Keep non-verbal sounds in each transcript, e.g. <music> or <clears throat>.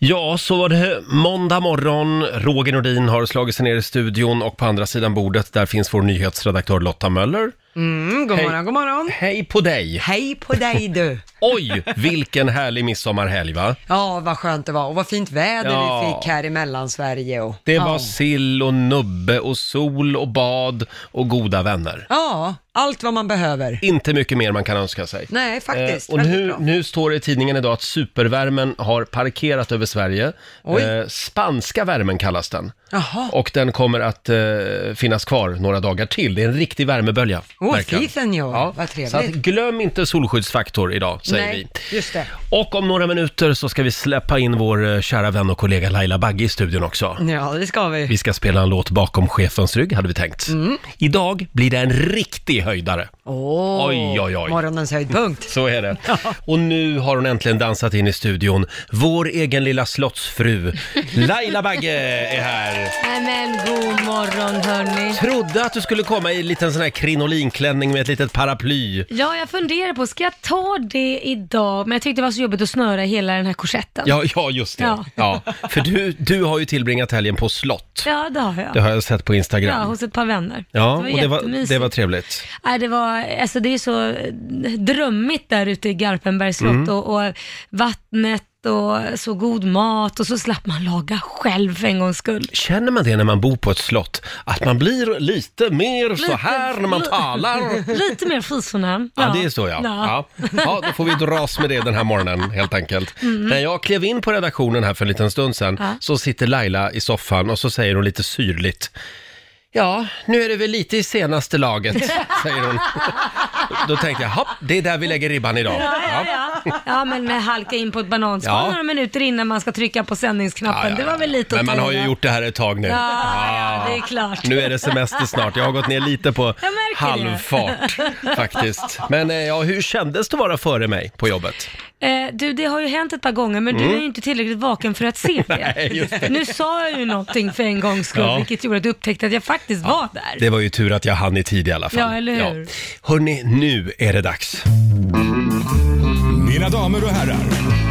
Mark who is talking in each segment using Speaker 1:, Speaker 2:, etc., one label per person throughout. Speaker 1: Ja, så var det måndag morgon. Roger Nordin har slagit sig ner i studion och på andra sidan bordet där finns vår nyhetsredaktör Lotta Möller.
Speaker 2: Mm, god
Speaker 1: Hej.
Speaker 2: morgon, god morgon.
Speaker 1: Hej på dig!
Speaker 2: Hej på dig du.
Speaker 1: Oj, vilken härlig midsommarhelg va?
Speaker 2: Ja, vad skönt det var och vad fint väder vi
Speaker 1: Ja.
Speaker 2: fick här i Mellansverige. Och...
Speaker 1: Det
Speaker 2: ja.
Speaker 1: var sill och nubbe och sol och bad och goda vänner.
Speaker 2: Ja, allt vad man behöver.
Speaker 1: Inte mycket mer man kan önska sig.
Speaker 2: Nej, faktiskt.
Speaker 1: Eh, och
Speaker 2: väldigt
Speaker 1: nu,
Speaker 2: bra.
Speaker 1: nu står det i tidningen idag att supervärmen har parkerat över Sverige.
Speaker 2: Oj.
Speaker 1: Eh, spanska värmen kallas den.
Speaker 2: Jaha,
Speaker 1: Och den kommer att eh, finnas kvar några dagar till. Det är en riktig värmebölja.
Speaker 2: åh
Speaker 1: verkar.
Speaker 2: fy senor, ja. vad
Speaker 1: Så att
Speaker 2: trevligt.
Speaker 1: glöm inte solskyddsfaktor idag, säger
Speaker 2: Nej,
Speaker 1: vi.
Speaker 2: just det.
Speaker 1: Och om några minuter så ska vi släppa in vår eh, kära vän och kollega Laila Bagge i studion också.
Speaker 2: Ja, det ska vi.
Speaker 1: Vi ska spela en låt bakom chefens rygg, hade vi tänkt.
Speaker 2: Mm.
Speaker 1: Idag blir det en riktig höjdare.
Speaker 2: Åh,
Speaker 1: Oj, oj, oj.
Speaker 2: morgonens höjdpunkt.
Speaker 1: Så är det. Och nu har hon äntligen dansat in i studion. Vår egen
Speaker 2: <laughs>
Speaker 1: lilla slottsfru, Laila Bagge, är här.
Speaker 3: Nej men god morgon hörni.
Speaker 1: Trodde att du skulle komma i en liten sån här krinolinklänning med ett litet paraply.
Speaker 3: Ja, jag funderar på, ska jag ta det idag? Men jag tyckte det var så jobbigt att snöra hela den här korsetten.
Speaker 1: Ja, ja just det. Ja.
Speaker 3: Ja.
Speaker 1: För du, du har ju tillbringat helgen på slott.
Speaker 3: Ja, det har jag.
Speaker 1: Det har jag sett på
Speaker 3: Ja,
Speaker 1: Instagram.
Speaker 3: hos ett par vänner.
Speaker 1: Ja, och det var,
Speaker 3: jättemysigt.
Speaker 1: det var trevligt.
Speaker 3: Nej, det var, alltså det är så eh, drömmigt där ute i Garpenbergs slott
Speaker 1: Mm.
Speaker 3: och, och vattnet och så god mat och så slapp man laga själv för en gångs skull.
Speaker 1: Känner man det när man bor på ett slott? Att man blir lite mer så
Speaker 3: Lite-
Speaker 1: här när man talar?
Speaker 3: Lite mer frizonen.
Speaker 1: Ja, det är så ja. ja. Ja, då får vi dras med det den här morgonen helt enkelt. När jag klev in på redaktionen här för en liten stund sedan
Speaker 3: Mm. Ja.
Speaker 1: så sitter Laila i soffan och så säger hon lite syrligt Ja, nu är det väl lite i senaste laget,
Speaker 3: <laughs>
Speaker 1: säger hon. Då tänkte jag, hopp, det är där vi lägger ribban idag.
Speaker 3: Ja, ja, ja. ja, men eh, halka in på ett bananskal
Speaker 1: Ja.
Speaker 3: några minuter innan man ska trycka på sändningsknappen.
Speaker 1: Ja, ja,
Speaker 3: Det var väl lite
Speaker 1: Men
Speaker 3: att
Speaker 1: man
Speaker 3: ta
Speaker 1: har
Speaker 3: i,
Speaker 1: ju
Speaker 3: va?
Speaker 1: gjort det här ett tag nu.
Speaker 3: Ja, ja, det är klart.
Speaker 1: Nu är det semester snart. Jag har gått ner lite på
Speaker 3: märker
Speaker 1: halvfart faktiskt. Men eh, ja, hur kändes det att vara före mig på jobbet?
Speaker 3: Eh, du, det har ju hänt ett par gånger, men du är ju inte tillräckligt vaken för att se det.
Speaker 1: Mm. <laughs> Nej, just det.
Speaker 3: Nu sa jag ju någonting för en gångs skull,
Speaker 1: Ja.
Speaker 3: vilket gjorde att du upptäckte att jag faktiskt var där.
Speaker 1: Det var ju tur att jag hann i tid i alla fall.
Speaker 3: Ja, eller hur?
Speaker 1: Hörni, nu är det dags.
Speaker 4: Mina damer och herrar,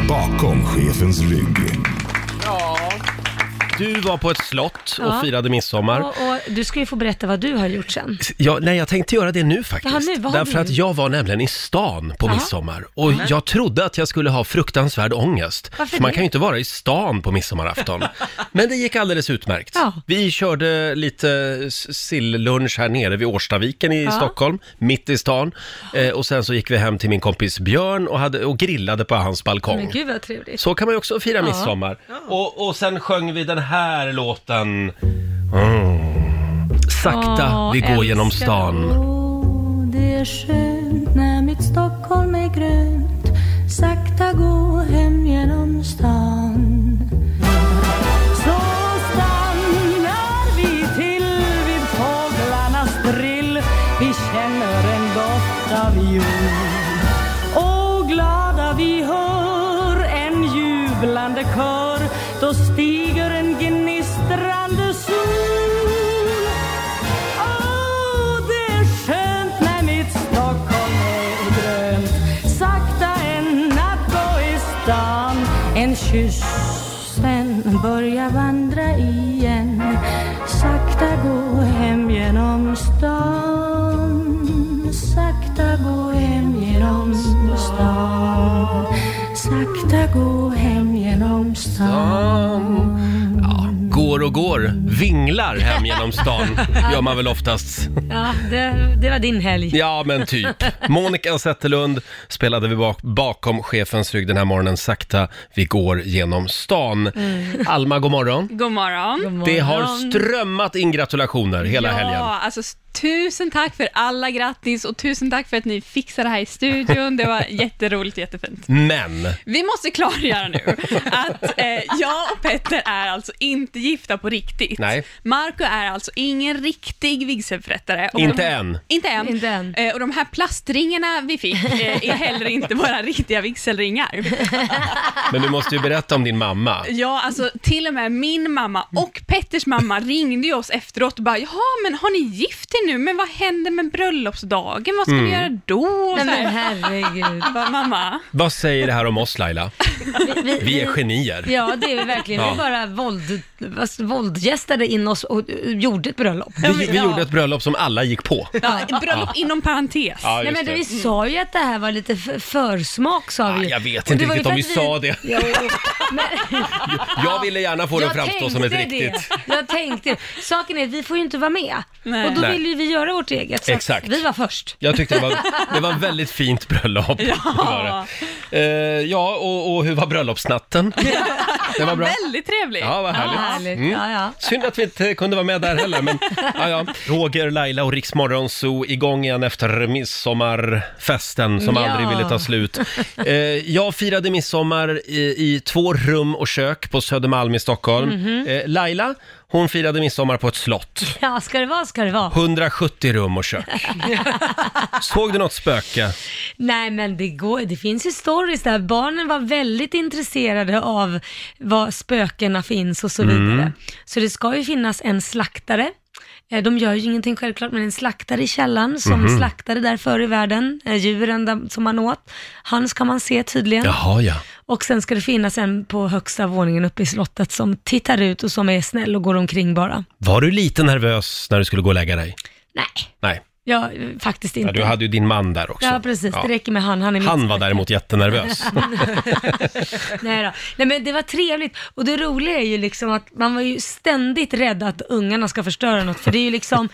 Speaker 4: bakom chefens rygg.
Speaker 1: Du var på ett slott och
Speaker 3: Ja.
Speaker 1: firade midsommar.
Speaker 3: Och, och du ska ju få berätta vad du har gjort sen.
Speaker 1: Ja, nej, jag tänkte göra det nu faktiskt.
Speaker 3: Jaha, nu, vad har
Speaker 1: Därför
Speaker 3: du
Speaker 1: att
Speaker 3: gjort?
Speaker 1: jag var nämligen i stan på midsommar och jag trodde att jag skulle ha fruktansvärd ångest.
Speaker 3: Varför
Speaker 1: för man
Speaker 3: det?
Speaker 1: kan ju inte vara i stan
Speaker 3: <laughs>
Speaker 1: på midsommarafton. Men det gick alldeles utmärkt.
Speaker 3: Ja.
Speaker 1: Vi körde lite s- silllunch här nere vid Årstaviken i
Speaker 3: Ja.
Speaker 1: Stockholm, mitt i stan. Eh, och sen så gick vi hem till min kompis Björn och, hade, och grillade på hans balkong.
Speaker 3: Men gud vad trevligt.
Speaker 1: Så kan man ju också fira midsommar. Och, och sen sjöng vi den här låten. Mm. Sakta
Speaker 3: Åh,
Speaker 1: vi går
Speaker 3: älskar
Speaker 1: genom stan.
Speaker 5: Åh, det är skönt när mitt Stockholm är grönt Sakta gå hem genom stan Så stannar vi till vid fåglarnas drill Vi känner en doft av jord och glada vi hör en jublande kör Då stiger en gnistrande sol Åh, det är skönt när mitt Stockholm är grönt Sakta en natt gå i stan En kyss, sen börja vandra igen Sakta gå hem genom stan Sakta gå hem genom stan Sakta gå hem genom stan
Speaker 1: Ja, går och går, vinglar hem
Speaker 6: <laughs>
Speaker 1: genom stan, gör man väl oftast.
Speaker 3: Ja, det, det var din helg.
Speaker 1: Ja, men typ. Monica Zetterlund spelade vi bak, bakom chefens rygg den här morgonen, Sakta vi går genom stan. Alma, god morgon.
Speaker 6: Mm. God morgon.
Speaker 1: Det har strömmat in gratulationer hela
Speaker 6: ja,
Speaker 1: helgen.
Speaker 6: Alltså, s- tusen tack för alla grattis och tusen tack för att ni fixade det här i studion. Det var jätteroligt, jättefint.
Speaker 1: Men,
Speaker 6: Vi måste klargöra nu att eh, jag och Petter är alltså inte gifta. gifta på riktigt.
Speaker 1: Nej.
Speaker 6: Marco är alltså ingen riktig vigselförrättare. Och
Speaker 1: Inte
Speaker 6: de-
Speaker 1: än.
Speaker 6: Inte än.
Speaker 3: Inte än.
Speaker 6: Eh, och de här plastringarna vi fick eh, är heller inte våra riktiga vigselringar.
Speaker 1: Men du måste ju berätta om din mamma.
Speaker 6: Ja, alltså till och med min mamma och Petters mamma ringde ju oss efteråt och bara “Jaha, men har ni gift er nu? Men vad händer med bröllopsdagen? Vad ska vi göra då?” och
Speaker 3: Nej
Speaker 6: så
Speaker 3: men
Speaker 6: här.
Speaker 3: herregud.
Speaker 6: Jag bara, Mamma,
Speaker 1: Vad säger det här om oss Laila? Vi är genier.
Speaker 3: Ja, det är vi verkligen.
Speaker 1: Mm. Ja.
Speaker 3: Vi bara våld, alltså, våldgästade in oss och eh, gjorde ett bröllop.
Speaker 1: Vi, vi gjorde ett bröllop som alla gick på.
Speaker 6: ja, bröllop inom parentes.
Speaker 1: Ja,
Speaker 3: Nej, men
Speaker 1: just det.
Speaker 3: vi sa ju att det här var lite f- försmak sa
Speaker 1: Ah,
Speaker 3: vi ju.
Speaker 1: jag vet
Speaker 3: Och
Speaker 1: inte
Speaker 3: det var ju
Speaker 1: riktigt om vi
Speaker 3: för
Speaker 1: sa
Speaker 3: att
Speaker 1: det.
Speaker 3: Jo,
Speaker 1: <laughs>
Speaker 3: men...
Speaker 1: Jag ville gärna få det att framstå som ett
Speaker 3: tänkte
Speaker 1: riktigt...
Speaker 3: Det. Jag tänkte det. Saken är, att vi får ju inte vara med.
Speaker 6: Nej.
Speaker 3: Och då
Speaker 1: Nej.
Speaker 3: vill ju vi göra vårt eget. Så att
Speaker 1: Exakt.
Speaker 3: Vi var först.
Speaker 1: Jag tyckte det var, det var ett väldigt fint bröllop. Det var det. Eh, ja, och, och hur
Speaker 3: <laughs>
Speaker 1: var bröllopsnatten? Det var bra.
Speaker 6: Väldigt trevligt.
Speaker 1: Ja, vad
Speaker 3: Ja,
Speaker 1: härligt. Mm.
Speaker 3: härligt. Ja, ja.
Speaker 1: Synd att vi inte kunde vara med där
Speaker 3: <laughs>
Speaker 1: heller, men ja, ja. Roger, Laila och Riksmorgon Zoo igång igen efter midsommarfesten som
Speaker 3: Ja.
Speaker 1: aldrig ville ta slut. Eh, jag firade midsommar i, i två rum och kök på Södermalm i Stockholm.
Speaker 3: Mhm.
Speaker 1: eh, Laila, hon firade midsommar på ett slott.
Speaker 3: ja, ska det vara ska det vara.
Speaker 1: 170 rum och kök.
Speaker 3: <laughs>
Speaker 1: Såg du något spöke?
Speaker 3: Nej men det går det finns ju stories där. Barnen var väldigt intresserade av var spökena finns och så
Speaker 1: Mm.
Speaker 3: vidare. Så det ska ju finnas en slaktare. Eh, De gör ju ingenting självklart, men en slaktare i källaren som
Speaker 1: Mhm.
Speaker 3: slaktade där förr i världen, eh, djuren där, som man åt. Hans kan man se tydligen.
Speaker 1: Jaha, ja.
Speaker 3: Och sen ska det finnas en på högsta våningen uppe i slottet som tittar ut och som är snäll och går omkring bara.
Speaker 1: Var du lite nervös när du skulle gå och lägga dig?
Speaker 3: Nej,
Speaker 1: Nej,
Speaker 3: jag faktiskt
Speaker 1: ja,
Speaker 3: inte.
Speaker 1: du hade ju din man där också.
Speaker 3: Ja, precis.
Speaker 1: Ja.
Speaker 3: Det räcker med han. Han är mitt
Speaker 1: Han var
Speaker 3: spöke.
Speaker 1: däremot jättenervös.
Speaker 3: Nej, då. Nej men det var trevligt och det roliga är ju liksom att man var ju ständigt rädd att ungarna ska förstöra något för det är ju liksom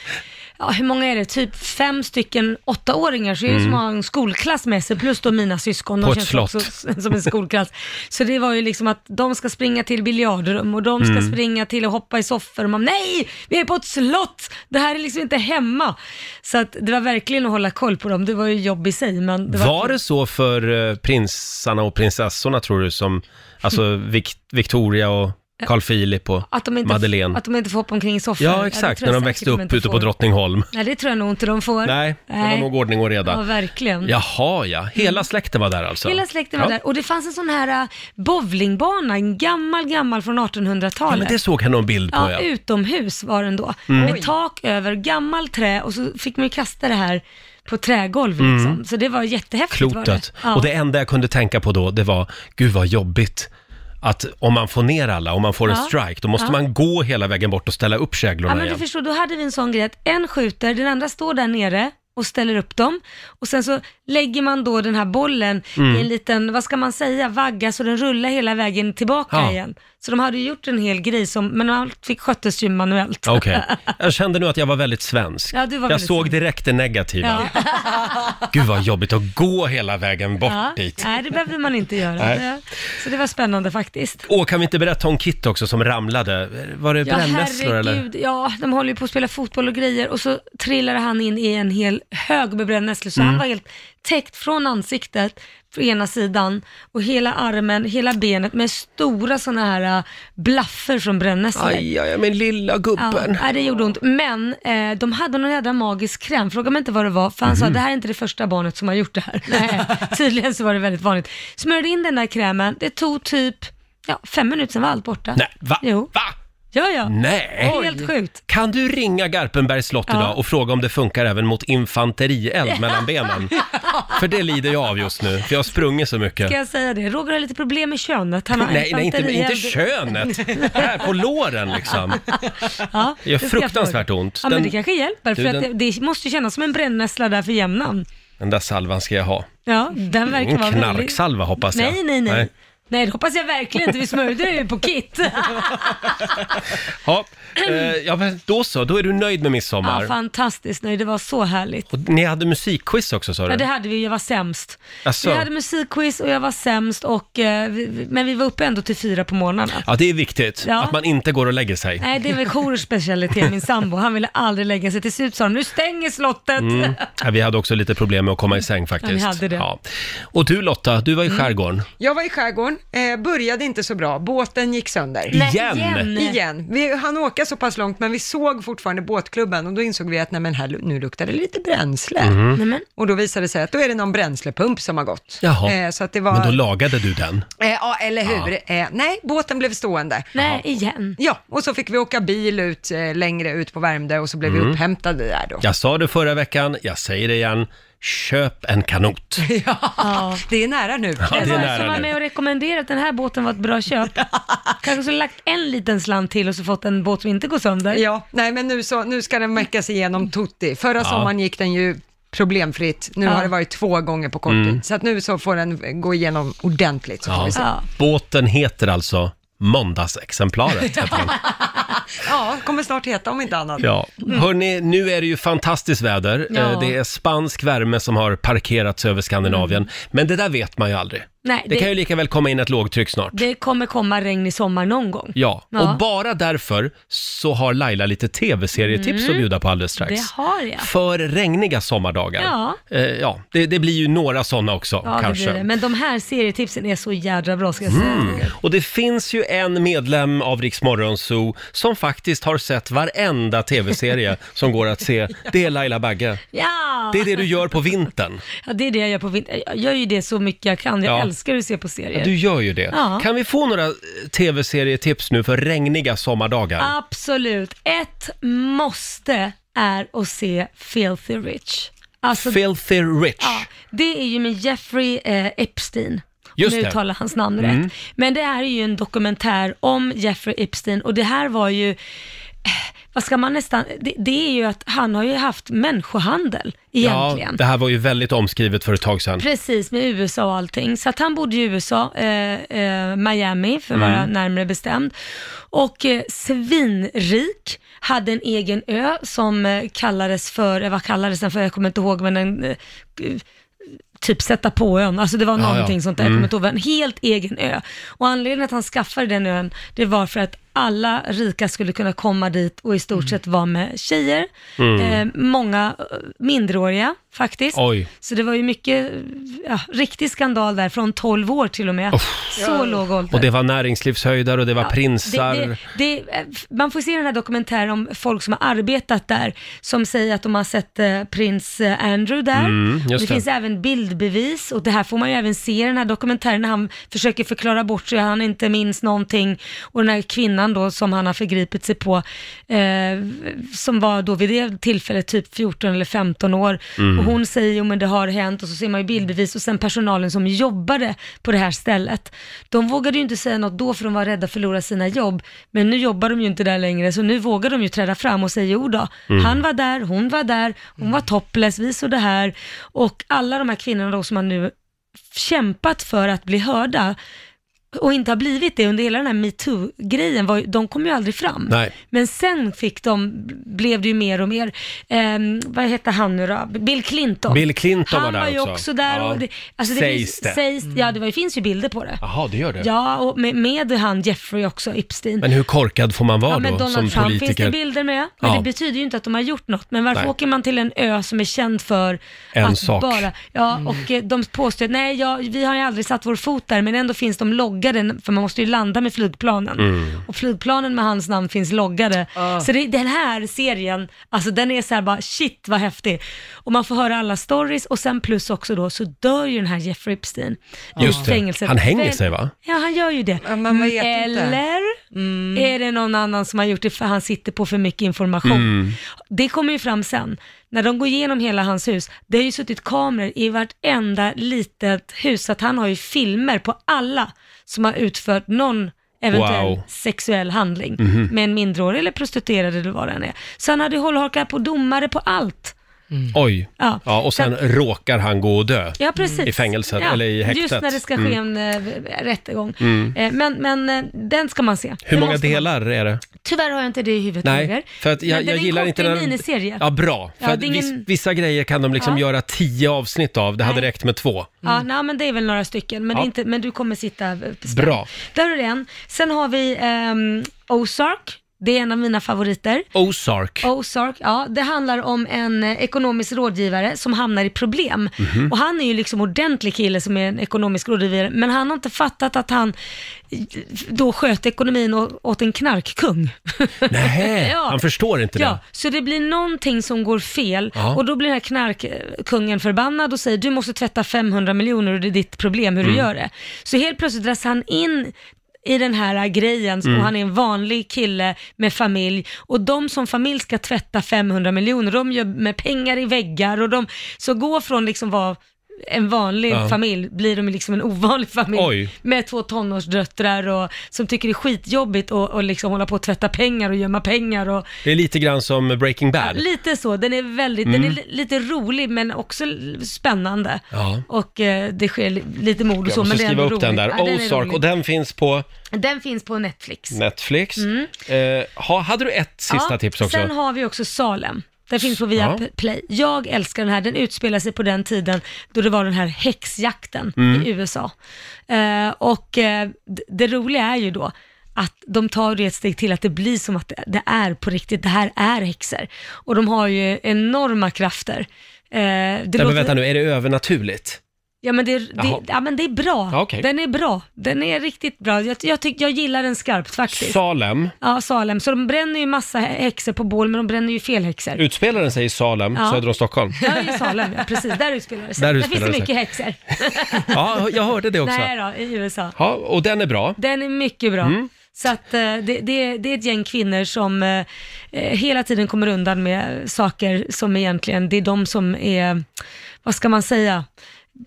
Speaker 3: Ja, hur många är det? Typ fem stycken åttaåringar, så är det som att ha en skolklass med sig, plus då mina syskon.
Speaker 1: Mm. På
Speaker 3: De
Speaker 1: ett
Speaker 3: känns
Speaker 1: slott.
Speaker 3: också <laughs> som en skolklass. Så det var ju liksom att de ska springa till biljardrum och de ska
Speaker 1: Mm.
Speaker 3: springa till och hoppa i soffor. Och man, nej, vi är på ett slott! Det här är liksom inte hemma. Så att det var verkligen att hålla koll på dem. Det var ju jobb i sig, men <laughs> det var,
Speaker 1: Var det så för eh, prinsarna och prinsessorna tror du som, alltså Vic- Victoria och Carl Philip och
Speaker 3: Att de, inte,
Speaker 1: Madeleine?
Speaker 3: att de inte får hoppa omkring i soffor.
Speaker 1: ja, exakt,
Speaker 3: det tror jag
Speaker 1: när de
Speaker 3: säkert
Speaker 1: växte upp
Speaker 3: inte
Speaker 1: ute på
Speaker 3: får.
Speaker 1: Drottningholm.
Speaker 3: Nej, det tror jag nog inte de får.
Speaker 1: Nej, det var nog ordning och
Speaker 3: Ja,
Speaker 1: reda.
Speaker 3: verkligen. Mm.
Speaker 1: Jaha, ja. Hela släkten var där alltså?
Speaker 3: Hela släkten var
Speaker 1: Ja.
Speaker 3: där och det fanns en sån här äh, bowlingbana, en gammal, gammal från 1800-talet.
Speaker 1: Ja, men det såg jag Mm. någon bild på,
Speaker 3: Ja,
Speaker 1: ja.
Speaker 3: utomhus var den då. Med tak över, gammal trä och så fick man ju kasta det här på trägolv liksom. Så det var jättehäftigt. var
Speaker 1: Mm. Klotet.
Speaker 3: det. Ja.
Speaker 1: Och det enda jag kunde tänka på då, det var, gud vad jobbigt. Att om man får ner alla, om man får en
Speaker 3: Ja.
Speaker 1: strike, då måste man gå hela vägen bort och ställa upp käglorna
Speaker 3: Ja men du
Speaker 1: igen.
Speaker 3: förstår, då hade vi en sån grej att en skjuter, den andra står där nere och ställer upp dem och sen så lägger man då den här bollen
Speaker 1: Mm.
Speaker 3: i en liten, vad ska man säga, vagga så den rullar hela vägen tillbaka
Speaker 1: Ja.
Speaker 3: igen. Så de hade ju gjort en hel grej som, men allt fick sköttes ju manuellt. <laughs>
Speaker 1: Okej. Jag kände nu att jag var väldigt svensk.
Speaker 3: Ja, du var
Speaker 1: jag
Speaker 3: väldigt
Speaker 1: såg
Speaker 3: svensk.
Speaker 1: direkt det negativa. Gud vad jobbigt att gå hela vägen bort
Speaker 3: Ja.
Speaker 1: dit.
Speaker 3: Nej, det behövde man inte göra.
Speaker 1: Nej.
Speaker 3: Det- Så det var spännande faktiskt.
Speaker 1: Åh, kan vi inte berätta om Kit också som ramlade? Var det brännässlor eller?
Speaker 3: herregud, ja, de håller ju på att spela fotboll och grejer och så trillade han in i en hel hög med brännässlor så
Speaker 1: Mm.
Speaker 3: han var helt täckt från ansiktet på ena sidan och hela armen, hela benet med stora sådana här äh, blaffer från brännässlor.
Speaker 1: Aj, aj, aj, min lilla
Speaker 3: Ja,
Speaker 1: gubben.
Speaker 3: nej, det gjorde ont. Men eh, de hade någon jädra magisk kräm, fråga mig inte vad det var, för han
Speaker 1: Mhm.
Speaker 3: sa det här är inte det första barnet som har gjort det här. Nej, <laughs> tydligen så var det väldigt vanligt. Smörjde in den där krämen, det tog typ ja, fem minuter, sen var allt borta.
Speaker 1: Nej, va?
Speaker 3: Jo.
Speaker 1: Va?
Speaker 3: Ja, ja.
Speaker 1: Nej!
Speaker 3: Helt sjukt.
Speaker 1: Kan du ringa Garpenbergs slott
Speaker 3: Ja.
Speaker 1: idag och fråga om det funkar även mot infanterield mellan benen? För det lider jag av just nu, för jag har sprungit så mycket.
Speaker 3: Ska jag säga det? Roger har lite problem med könet. Han har
Speaker 1: Nej, nej inte, inte
Speaker 3: infanterield.
Speaker 1: könet. Här på låren liksom.
Speaker 3: Ja,
Speaker 1: Det gör
Speaker 3: ska jag
Speaker 1: fruktansvärt
Speaker 3: fråga.
Speaker 1: ont.
Speaker 3: Ja,
Speaker 1: Den-
Speaker 3: men det kanske hjälper, för
Speaker 1: Du,
Speaker 3: att det,
Speaker 1: den-
Speaker 3: det måste ju kännas som en brännässla där för jämnan.
Speaker 1: Den där salvan ska jag ha.
Speaker 3: Ja, den verkar
Speaker 1: Ingen
Speaker 3: vara väldigt-
Speaker 1: Mm, knarksalva hoppas jag.
Speaker 3: Nej, nej, nej.
Speaker 1: Nej.
Speaker 3: Nej, det hoppas jag verkligen inte. Vi smörjde det ju på
Speaker 1: <laughs>
Speaker 3: kit. <clears throat>
Speaker 1: Ja, eh, ja, men då så, då är du nöjd med midsommar.
Speaker 3: Ja, fantastiskt nöjd. Det var så härligt.
Speaker 1: och ni hade musikquiz också sa du?
Speaker 3: Ja, det hade vi. Jag var sämst.
Speaker 1: Asså?
Speaker 3: Vi hade musikquiz och jag var sämst, och, eh, vi- vi- men vi var uppe ändå till fyra på morgnarna.
Speaker 1: Ja, det är viktigt
Speaker 3: Ja.
Speaker 1: att man inte går och lägger sig.
Speaker 3: Nej, det var Korosh specialitet, min sambo. Han ville aldrig lägga sig. Till slut sa de, nu stänger slottet.
Speaker 1: Ja, vi hade också lite problem med att komma i säng
Speaker 3: Ja,
Speaker 1: faktiskt.
Speaker 3: vi hade det. Mm.
Speaker 1: Och du Lotta, du var i skärgården.
Speaker 2: Jag var i skärgården
Speaker 7: eh, började inte så bra. Båten gick sönder.
Speaker 3: Nej,
Speaker 1: Igen?
Speaker 7: Igen. Vi hann åka så pass långt, men vi såg fortfarande båtklubben och då insåg vi att nej, men här, lu- nu luktar det lite bränsle.
Speaker 1: Mhm. Mm.
Speaker 3: Nej, men,
Speaker 7: Och då visade det sig att då är det någon bränslepump som har gått.
Speaker 1: Jaha.
Speaker 7: Eh, så att det var...
Speaker 1: Men då lagade du den.
Speaker 7: eh, ja, eller hur? Eh, nej, båten blev stående.
Speaker 3: nej igen.
Speaker 7: Ja, och så fick vi åka bil ut eh, längre ut på Värmdö och så blev
Speaker 1: Mm.
Speaker 7: vi upphämtade där då.
Speaker 1: Jag sa det förra veckan, jag säger det igen. Köp en kanot.
Speaker 7: <laughs>
Speaker 3: Ja.
Speaker 7: Det är nära nu.
Speaker 1: Ja,
Speaker 3: Det
Speaker 1: det är
Speaker 3: var som
Speaker 1: nära
Speaker 3: var
Speaker 1: nu.
Speaker 3: med och rekommenderade att den här båten var ett bra
Speaker 1: <laughs>
Speaker 3: köp. Kanske skulle lagt en liten slant till och så fått en båt som inte går sönder.
Speaker 7: Eh, Ja, nej men nu, så, nu ska den mäckas igenom Tutti. Förra sommaren gick den ju problemfritt. Nu
Speaker 3: Ja.
Speaker 7: har det varit två gånger på kort tid. Så att nu så får den gå igenom ordentligt. Så får
Speaker 1: Mm. Ja.
Speaker 7: vi se.
Speaker 3: Ja.
Speaker 1: Båten heter alltså
Speaker 3: <laughs>
Speaker 1: Måndagsexemplaret. heter den.
Speaker 7: ja, kommer snart heta om inte annat.
Speaker 1: Ja. Hörni, nu är det ju fantastiskt väder.
Speaker 3: Mm. Ja.
Speaker 1: Eh, Det är spansk värme som har parkerats över Skandinavien. Men det där vet man ju aldrig.
Speaker 3: Mm. Nej,
Speaker 1: Det
Speaker 3: det,
Speaker 1: kan ju lika väl komma in ett lågtryck snart.
Speaker 3: det kommer komma regn i sommar någon gång.
Speaker 1: Ja,
Speaker 3: Ja.
Speaker 1: och bara därför så har Laila lite tv-serietips att bjuda på alldeles strax.
Speaker 3: Mm. Det har jag.
Speaker 1: För regniga sommardagar.
Speaker 3: Ja.
Speaker 1: Eh, ja det, det blir ju några sådana också
Speaker 3: Ja,
Speaker 1: kanske. Mm.
Speaker 3: det blir det. Men de här serietipsen är så jädra bra ska jag säga.
Speaker 1: Och det finns ju en medlem av Rix Morgon Zoo som faktiskt har sett
Speaker 3: <laughs>
Speaker 1: varenda tv-serie som går att se. Det är Laila Bagge.
Speaker 3: Ja.
Speaker 1: Det är det du gör på vintern.
Speaker 3: ja, det är det jag gör på vintern. Jag gör ju det så mycket jag kan. Jag
Speaker 1: Ja.
Speaker 3: älskar att se på serier.
Speaker 1: Du gör ju det.
Speaker 3: Ja.
Speaker 1: Kan vi få några eh, tv-serietips nu för regniga sommardagar?
Speaker 3: Absolut. Ett måste är att se Filthy Rich. Alltså,
Speaker 1: Filthy Rich.
Speaker 3: ja, det är ju med Jeffrey eh, Epstein.
Speaker 1: Just
Speaker 3: nu
Speaker 1: det. Mm.
Speaker 3: uttalar hans namn rätt. Men det här är ju en dokumentär om Jeffrey Epstein och det här var ju, eh, vad ska man nästan, det, det är ju att han har ju haft människohandel egentligen.
Speaker 1: Ja, det här var ju väldigt omskrivet för ett tag sedan.
Speaker 3: Precis, med USA och allting. Så att han bodde i USA, eh, eh, Miami för att vara
Speaker 1: Mm.
Speaker 3: närmare bestämd. Och eh, svinrik, hade en egen ö som eh, kallades för, eh, vad kallades den för, jag kommer inte ihåg, men den eh, typ sätta på ön, alltså det var
Speaker 1: Ja, Mm.
Speaker 3: någonting
Speaker 1: ja.
Speaker 3: sånt där, jag kommer inte ihåg, en helt egen ö. Och anledningen att han skaffade den ön, det var för att alla rika skulle kunna komma dit och i
Speaker 1: Mm.
Speaker 3: stort sett vara med tjejer, eh, många eh, minderåriga faktiskt.
Speaker 1: Oj.
Speaker 3: Så det var ju mycket, ja, riktig skandal där, från 12 år till och med. Så låg ålder.
Speaker 1: Och det var näringslivshöjder och det var prinsar.
Speaker 3: Det, det, det, man får se den här dokumentären om folk som har arbetat där, som säger att de har sett eh, prins eh, Andrew där. Och det,
Speaker 1: Mm, just det.
Speaker 3: finns även bildbevis och det här får man ju även se i den här dokumentären när han försöker förklara bort sig, han inte minns någonting. Och den här kvinnan då som han har förgripit sig på, eh, som var då vid det tillfället typ 14 eller 15 år.
Speaker 1: Mm.
Speaker 3: Och hon säger jo men det har hänt och så ser man ju bildbevis och sen personalen som jobbade på det här stället. De vågade ju inte säga något då för de var rädda att förlora sina jobb. Men nu jobbar de ju inte där längre så nu vågar de ju träda fram och säga jo då,
Speaker 1: Mm.
Speaker 3: han var där, hon var där, hon var topless, vi såg det här. Och alla de här kvinnorna då som har nu kämpat för att bli hörda och inte har blivit det under hela den här metoo-grejen, var ju- de kom ju aldrig fram.
Speaker 1: Nej.
Speaker 3: Men sen fick de, blev det ju mer och mer, ehm, vad heter han nu då? Bill Clinton.
Speaker 1: Bill Clinton
Speaker 3: han
Speaker 1: var där
Speaker 3: var ju
Speaker 1: också.
Speaker 3: också, där.
Speaker 1: Ja.
Speaker 3: Och det, alltså det
Speaker 1: Sägs
Speaker 3: sägs
Speaker 1: det. Mm.
Speaker 3: det? Sägs, ja, det var, ju- finns ju bilder på det.
Speaker 1: Jaha, det gör det.
Speaker 3: Ja, och med, med han Jeffrey också, Epstein.
Speaker 1: Men hur korkad får man vara
Speaker 3: Ja, men
Speaker 1: då
Speaker 3: Donald
Speaker 1: som
Speaker 3: Trump finns
Speaker 1: politiker?
Speaker 3: det bilder med, men
Speaker 1: Ja.
Speaker 3: det betyder ju inte att de har gjort något. Men varför
Speaker 1: Nej.
Speaker 3: åker man till en ö som är känd för
Speaker 1: En
Speaker 3: att
Speaker 1: sak.
Speaker 3: bara... Ja,
Speaker 7: Mm.
Speaker 3: och eh, de påstår att nej, ja, vi har ju aldrig satt vår fot där, men ändå finns de loggade, för man måste ju landa med flygplanen.
Speaker 1: Mm.
Speaker 3: Och flygplanen med hans namn finns loggade. Så det, den här serien, alltså den är så här bara shit vad häftig. Och man får höra alla stories och sen plus också då så dör ju den här Jeffrey Epstein i
Speaker 1: Just det.
Speaker 3: fängelset.
Speaker 1: Han hänger
Speaker 3: Väl-
Speaker 1: sig va?
Speaker 3: Ja, han gör ju det.
Speaker 7: Ja, man vet inte.
Speaker 3: Eller
Speaker 1: Mm.
Speaker 3: är det någon annan som har gjort det för han sitter på för mycket information?
Speaker 1: Mm.
Speaker 3: Det kommer ju fram sen. När de går igenom hela hans hus, det har ju suttit kameror i vartenda litet hus, så att han har ju filmer på alla som har utfört någon eventuell
Speaker 1: Wow. Mhm.
Speaker 3: sexuell handling med en minderårig eller prostituerad eller vad det än är. Så han hade ju hållhakar på domare på allt.
Speaker 1: Oj.
Speaker 3: Ja.
Speaker 1: Ja, och sen
Speaker 3: Så
Speaker 1: råkar han gå och dö.
Speaker 3: Ja, precis.
Speaker 1: Mm. I fängelset, eller i häktet. Mm.
Speaker 3: Just när det ska ske en eh, rättegång. Eh, men men eh, den ska man se.
Speaker 1: Hur
Speaker 3: Den
Speaker 1: många
Speaker 3: måste man-
Speaker 1: delar är det?
Speaker 3: Tyvärr har jag inte det i huvudet
Speaker 1: Nej,
Speaker 3: Roger.
Speaker 1: för att jag,
Speaker 3: Men den
Speaker 1: jag
Speaker 3: är en
Speaker 1: gillar inte
Speaker 3: kortare
Speaker 1: den...
Speaker 3: miniserie.
Speaker 1: Ja, bra. För
Speaker 3: Ja,
Speaker 1: att
Speaker 3: det är ingen-
Speaker 1: vis- Vissa grejer kan de liksom
Speaker 3: Ja.
Speaker 1: göra tio avsnitt av. Det hade
Speaker 3: Nej.
Speaker 1: räckt med två.
Speaker 3: Ja, nej, men det är väl några stycken, men, det
Speaker 1: Ja.
Speaker 3: är inte, men du kommer sitta eh, spänd.
Speaker 1: Bra.
Speaker 3: Där har du en. Sen har vi ehm, Ozark. Det är en av mina favoriter.
Speaker 1: Ozark.
Speaker 3: Ozark, ja, det handlar om en eh, ekonomisk rådgivare som hamnar i problem.
Speaker 1: Mhm.
Speaker 3: Och han är ju liksom ordentlig kille som är en ekonomisk rådgivare, men han har inte fattat att han eh, då sköt ekonomin å- åt en knarkkung. <laughs>
Speaker 1: Nähä,
Speaker 3: Ja.
Speaker 1: han förstår inte
Speaker 3: Ja,
Speaker 1: det.
Speaker 3: så det blir någonting som går fel
Speaker 1: Ja.
Speaker 3: och då blir den här knarkkungen förbannad och säger du måste tvätta 500 miljoner och det är ditt problem
Speaker 1: Mm.
Speaker 3: hur du gör det. Så helt plötsligt dras han in i den här grejen
Speaker 1: Mm.
Speaker 3: och han är en vanlig kille med familj och de som familj ska tvätta 500 miljoner, de gör med pengar i väggar och de, så gå från liksom vara en vanlig
Speaker 1: Ja.
Speaker 3: familj blir de liksom en ovanlig familj
Speaker 1: Oj.
Speaker 3: med två tonårsdöttrar och, som tycker det är skitjobbigt att och liksom hålla på och tvätta pengar och gömma pengar och
Speaker 1: Det är lite grann som Breaking Bad.
Speaker 3: Lite så, den är väldigt,
Speaker 1: Mm.
Speaker 3: den är li- lite rolig men också l- spännande.
Speaker 1: Ja.
Speaker 3: Och eh, det sker li- lite mord och
Speaker 1: Jag
Speaker 3: så, men
Speaker 1: måste
Speaker 3: det är ändå
Speaker 1: skriva upp
Speaker 3: roligt.
Speaker 1: den där.
Speaker 3: Ja, den är
Speaker 1: Ozark,
Speaker 3: rolig.
Speaker 1: och den finns på
Speaker 3: Den finns på Netflix.
Speaker 1: Netflix. Eh, ha, hade du ett sista
Speaker 3: Mm. Ja,
Speaker 1: tips också?
Speaker 3: Sen har vi också Salem. Den finns på Viaplay. Jag älskar den här. Den utspelar sig på den tiden då det var den här häxjakten
Speaker 1: Mm.
Speaker 3: i USA. Eh, och eh, d- det roliga är ju då att de tar det ett steg till att det blir som att det- det är på riktigt, det här är häxor. Och de har ju enorma krafter. Eh, det
Speaker 1: Nej,
Speaker 3: låter-
Speaker 1: men vänta nu, är det övernaturligt?
Speaker 3: Ja men det, det,
Speaker 1: Jaha.
Speaker 3: ja, men det är bra.
Speaker 1: Ja, okej.
Speaker 3: Den är bra. Den är riktigt bra. Jag, jag, tyck, jag gillar den skarpt faktiskt.
Speaker 1: Salem,
Speaker 3: Ja, Salem. Så de bränner ju massa häxor på bål, men de bränner ju fel häxor.
Speaker 1: utspelar den sig i Salem,
Speaker 3: Ja.
Speaker 1: söder
Speaker 3: <laughs>
Speaker 1: om Stockholm?
Speaker 3: Ja, i Salem, ja, precis. Där utspelar det sig.
Speaker 1: Där
Speaker 3: Där,
Speaker 1: utspelar
Speaker 3: finns det
Speaker 1: det sig.
Speaker 3: mycket häxor.
Speaker 1: Ja, jag hörde det också.
Speaker 3: Nej då, i USA.
Speaker 1: Ja, och den är bra.
Speaker 3: Den är mycket bra.
Speaker 1: Mm.
Speaker 3: Så att eh, det, det, det är ett gäng kvinnor som eh, eh, hela tiden kommer undan med saker som egentligen, det är de som är, vad ska man säga,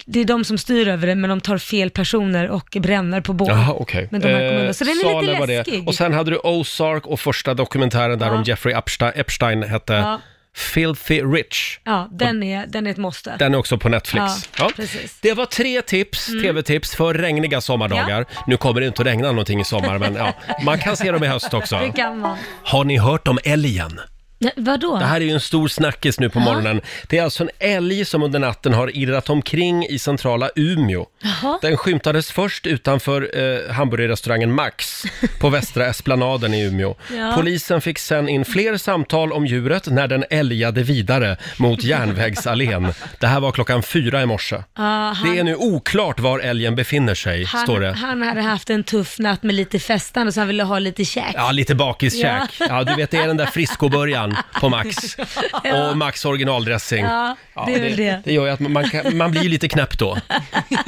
Speaker 3: det är de som styr över det men de tar fel personer och bränner på bål.
Speaker 1: Jaha, okej.
Speaker 3: Men de här kommer
Speaker 1: Eh,
Speaker 3: undan. Så den är
Speaker 1: Salem var
Speaker 3: lite
Speaker 1: det.
Speaker 3: läskig.
Speaker 1: Och sen hade du Ozark och första dokumentären där
Speaker 3: Ja.
Speaker 1: om Jeffrey Epstein, Epstein hette
Speaker 3: Ja.
Speaker 1: Filthy Rich.
Speaker 3: Ja, den är, den är ett måste.
Speaker 1: Den är också på Netflix.
Speaker 3: Ja, precis. Mm.
Speaker 1: Det var tre tips, tv-tips, för regniga sommardagar. Nu kommer det inte att regna någonting i sommar, men ja, man kan se dem i
Speaker 3: <laughs>
Speaker 1: höst
Speaker 3: Det
Speaker 1: också.
Speaker 3: kan man.
Speaker 1: Har ni hört om älgen?
Speaker 3: Nej, vadå?
Speaker 1: Det här är ju en stor snackis nu på morgonen. Det är alltså en älg som under natten har irrat omkring i centrala Umeå.
Speaker 3: Jaha.
Speaker 1: Den skymtades först utanför eh, hamburgerrestaurangen Max
Speaker 3: <laughs>
Speaker 1: på Västra Esplanaden i Umeå.
Speaker 3: Ja.
Speaker 1: Polisen fick sen in fler samtal om djuret när den älgade vidare mot järnvägsallén. Det här var klockan fyra i morse.
Speaker 3: Ja, han-
Speaker 1: Det är nu oklart var älgen befinner sig,
Speaker 3: Han,
Speaker 1: står det.
Speaker 3: han hade haft en tuff natt med lite festande så han ville ha lite käk. <laughs>
Speaker 1: Ja, lite bakiskäk. Ja. du vet, det är den där friskoburgaren
Speaker 3: <laughs>
Speaker 1: på Max. Och Max originaldressing.
Speaker 3: Ja, det är väl det.
Speaker 1: Det gör ju att man, kan, man blir ju lite knäpp då.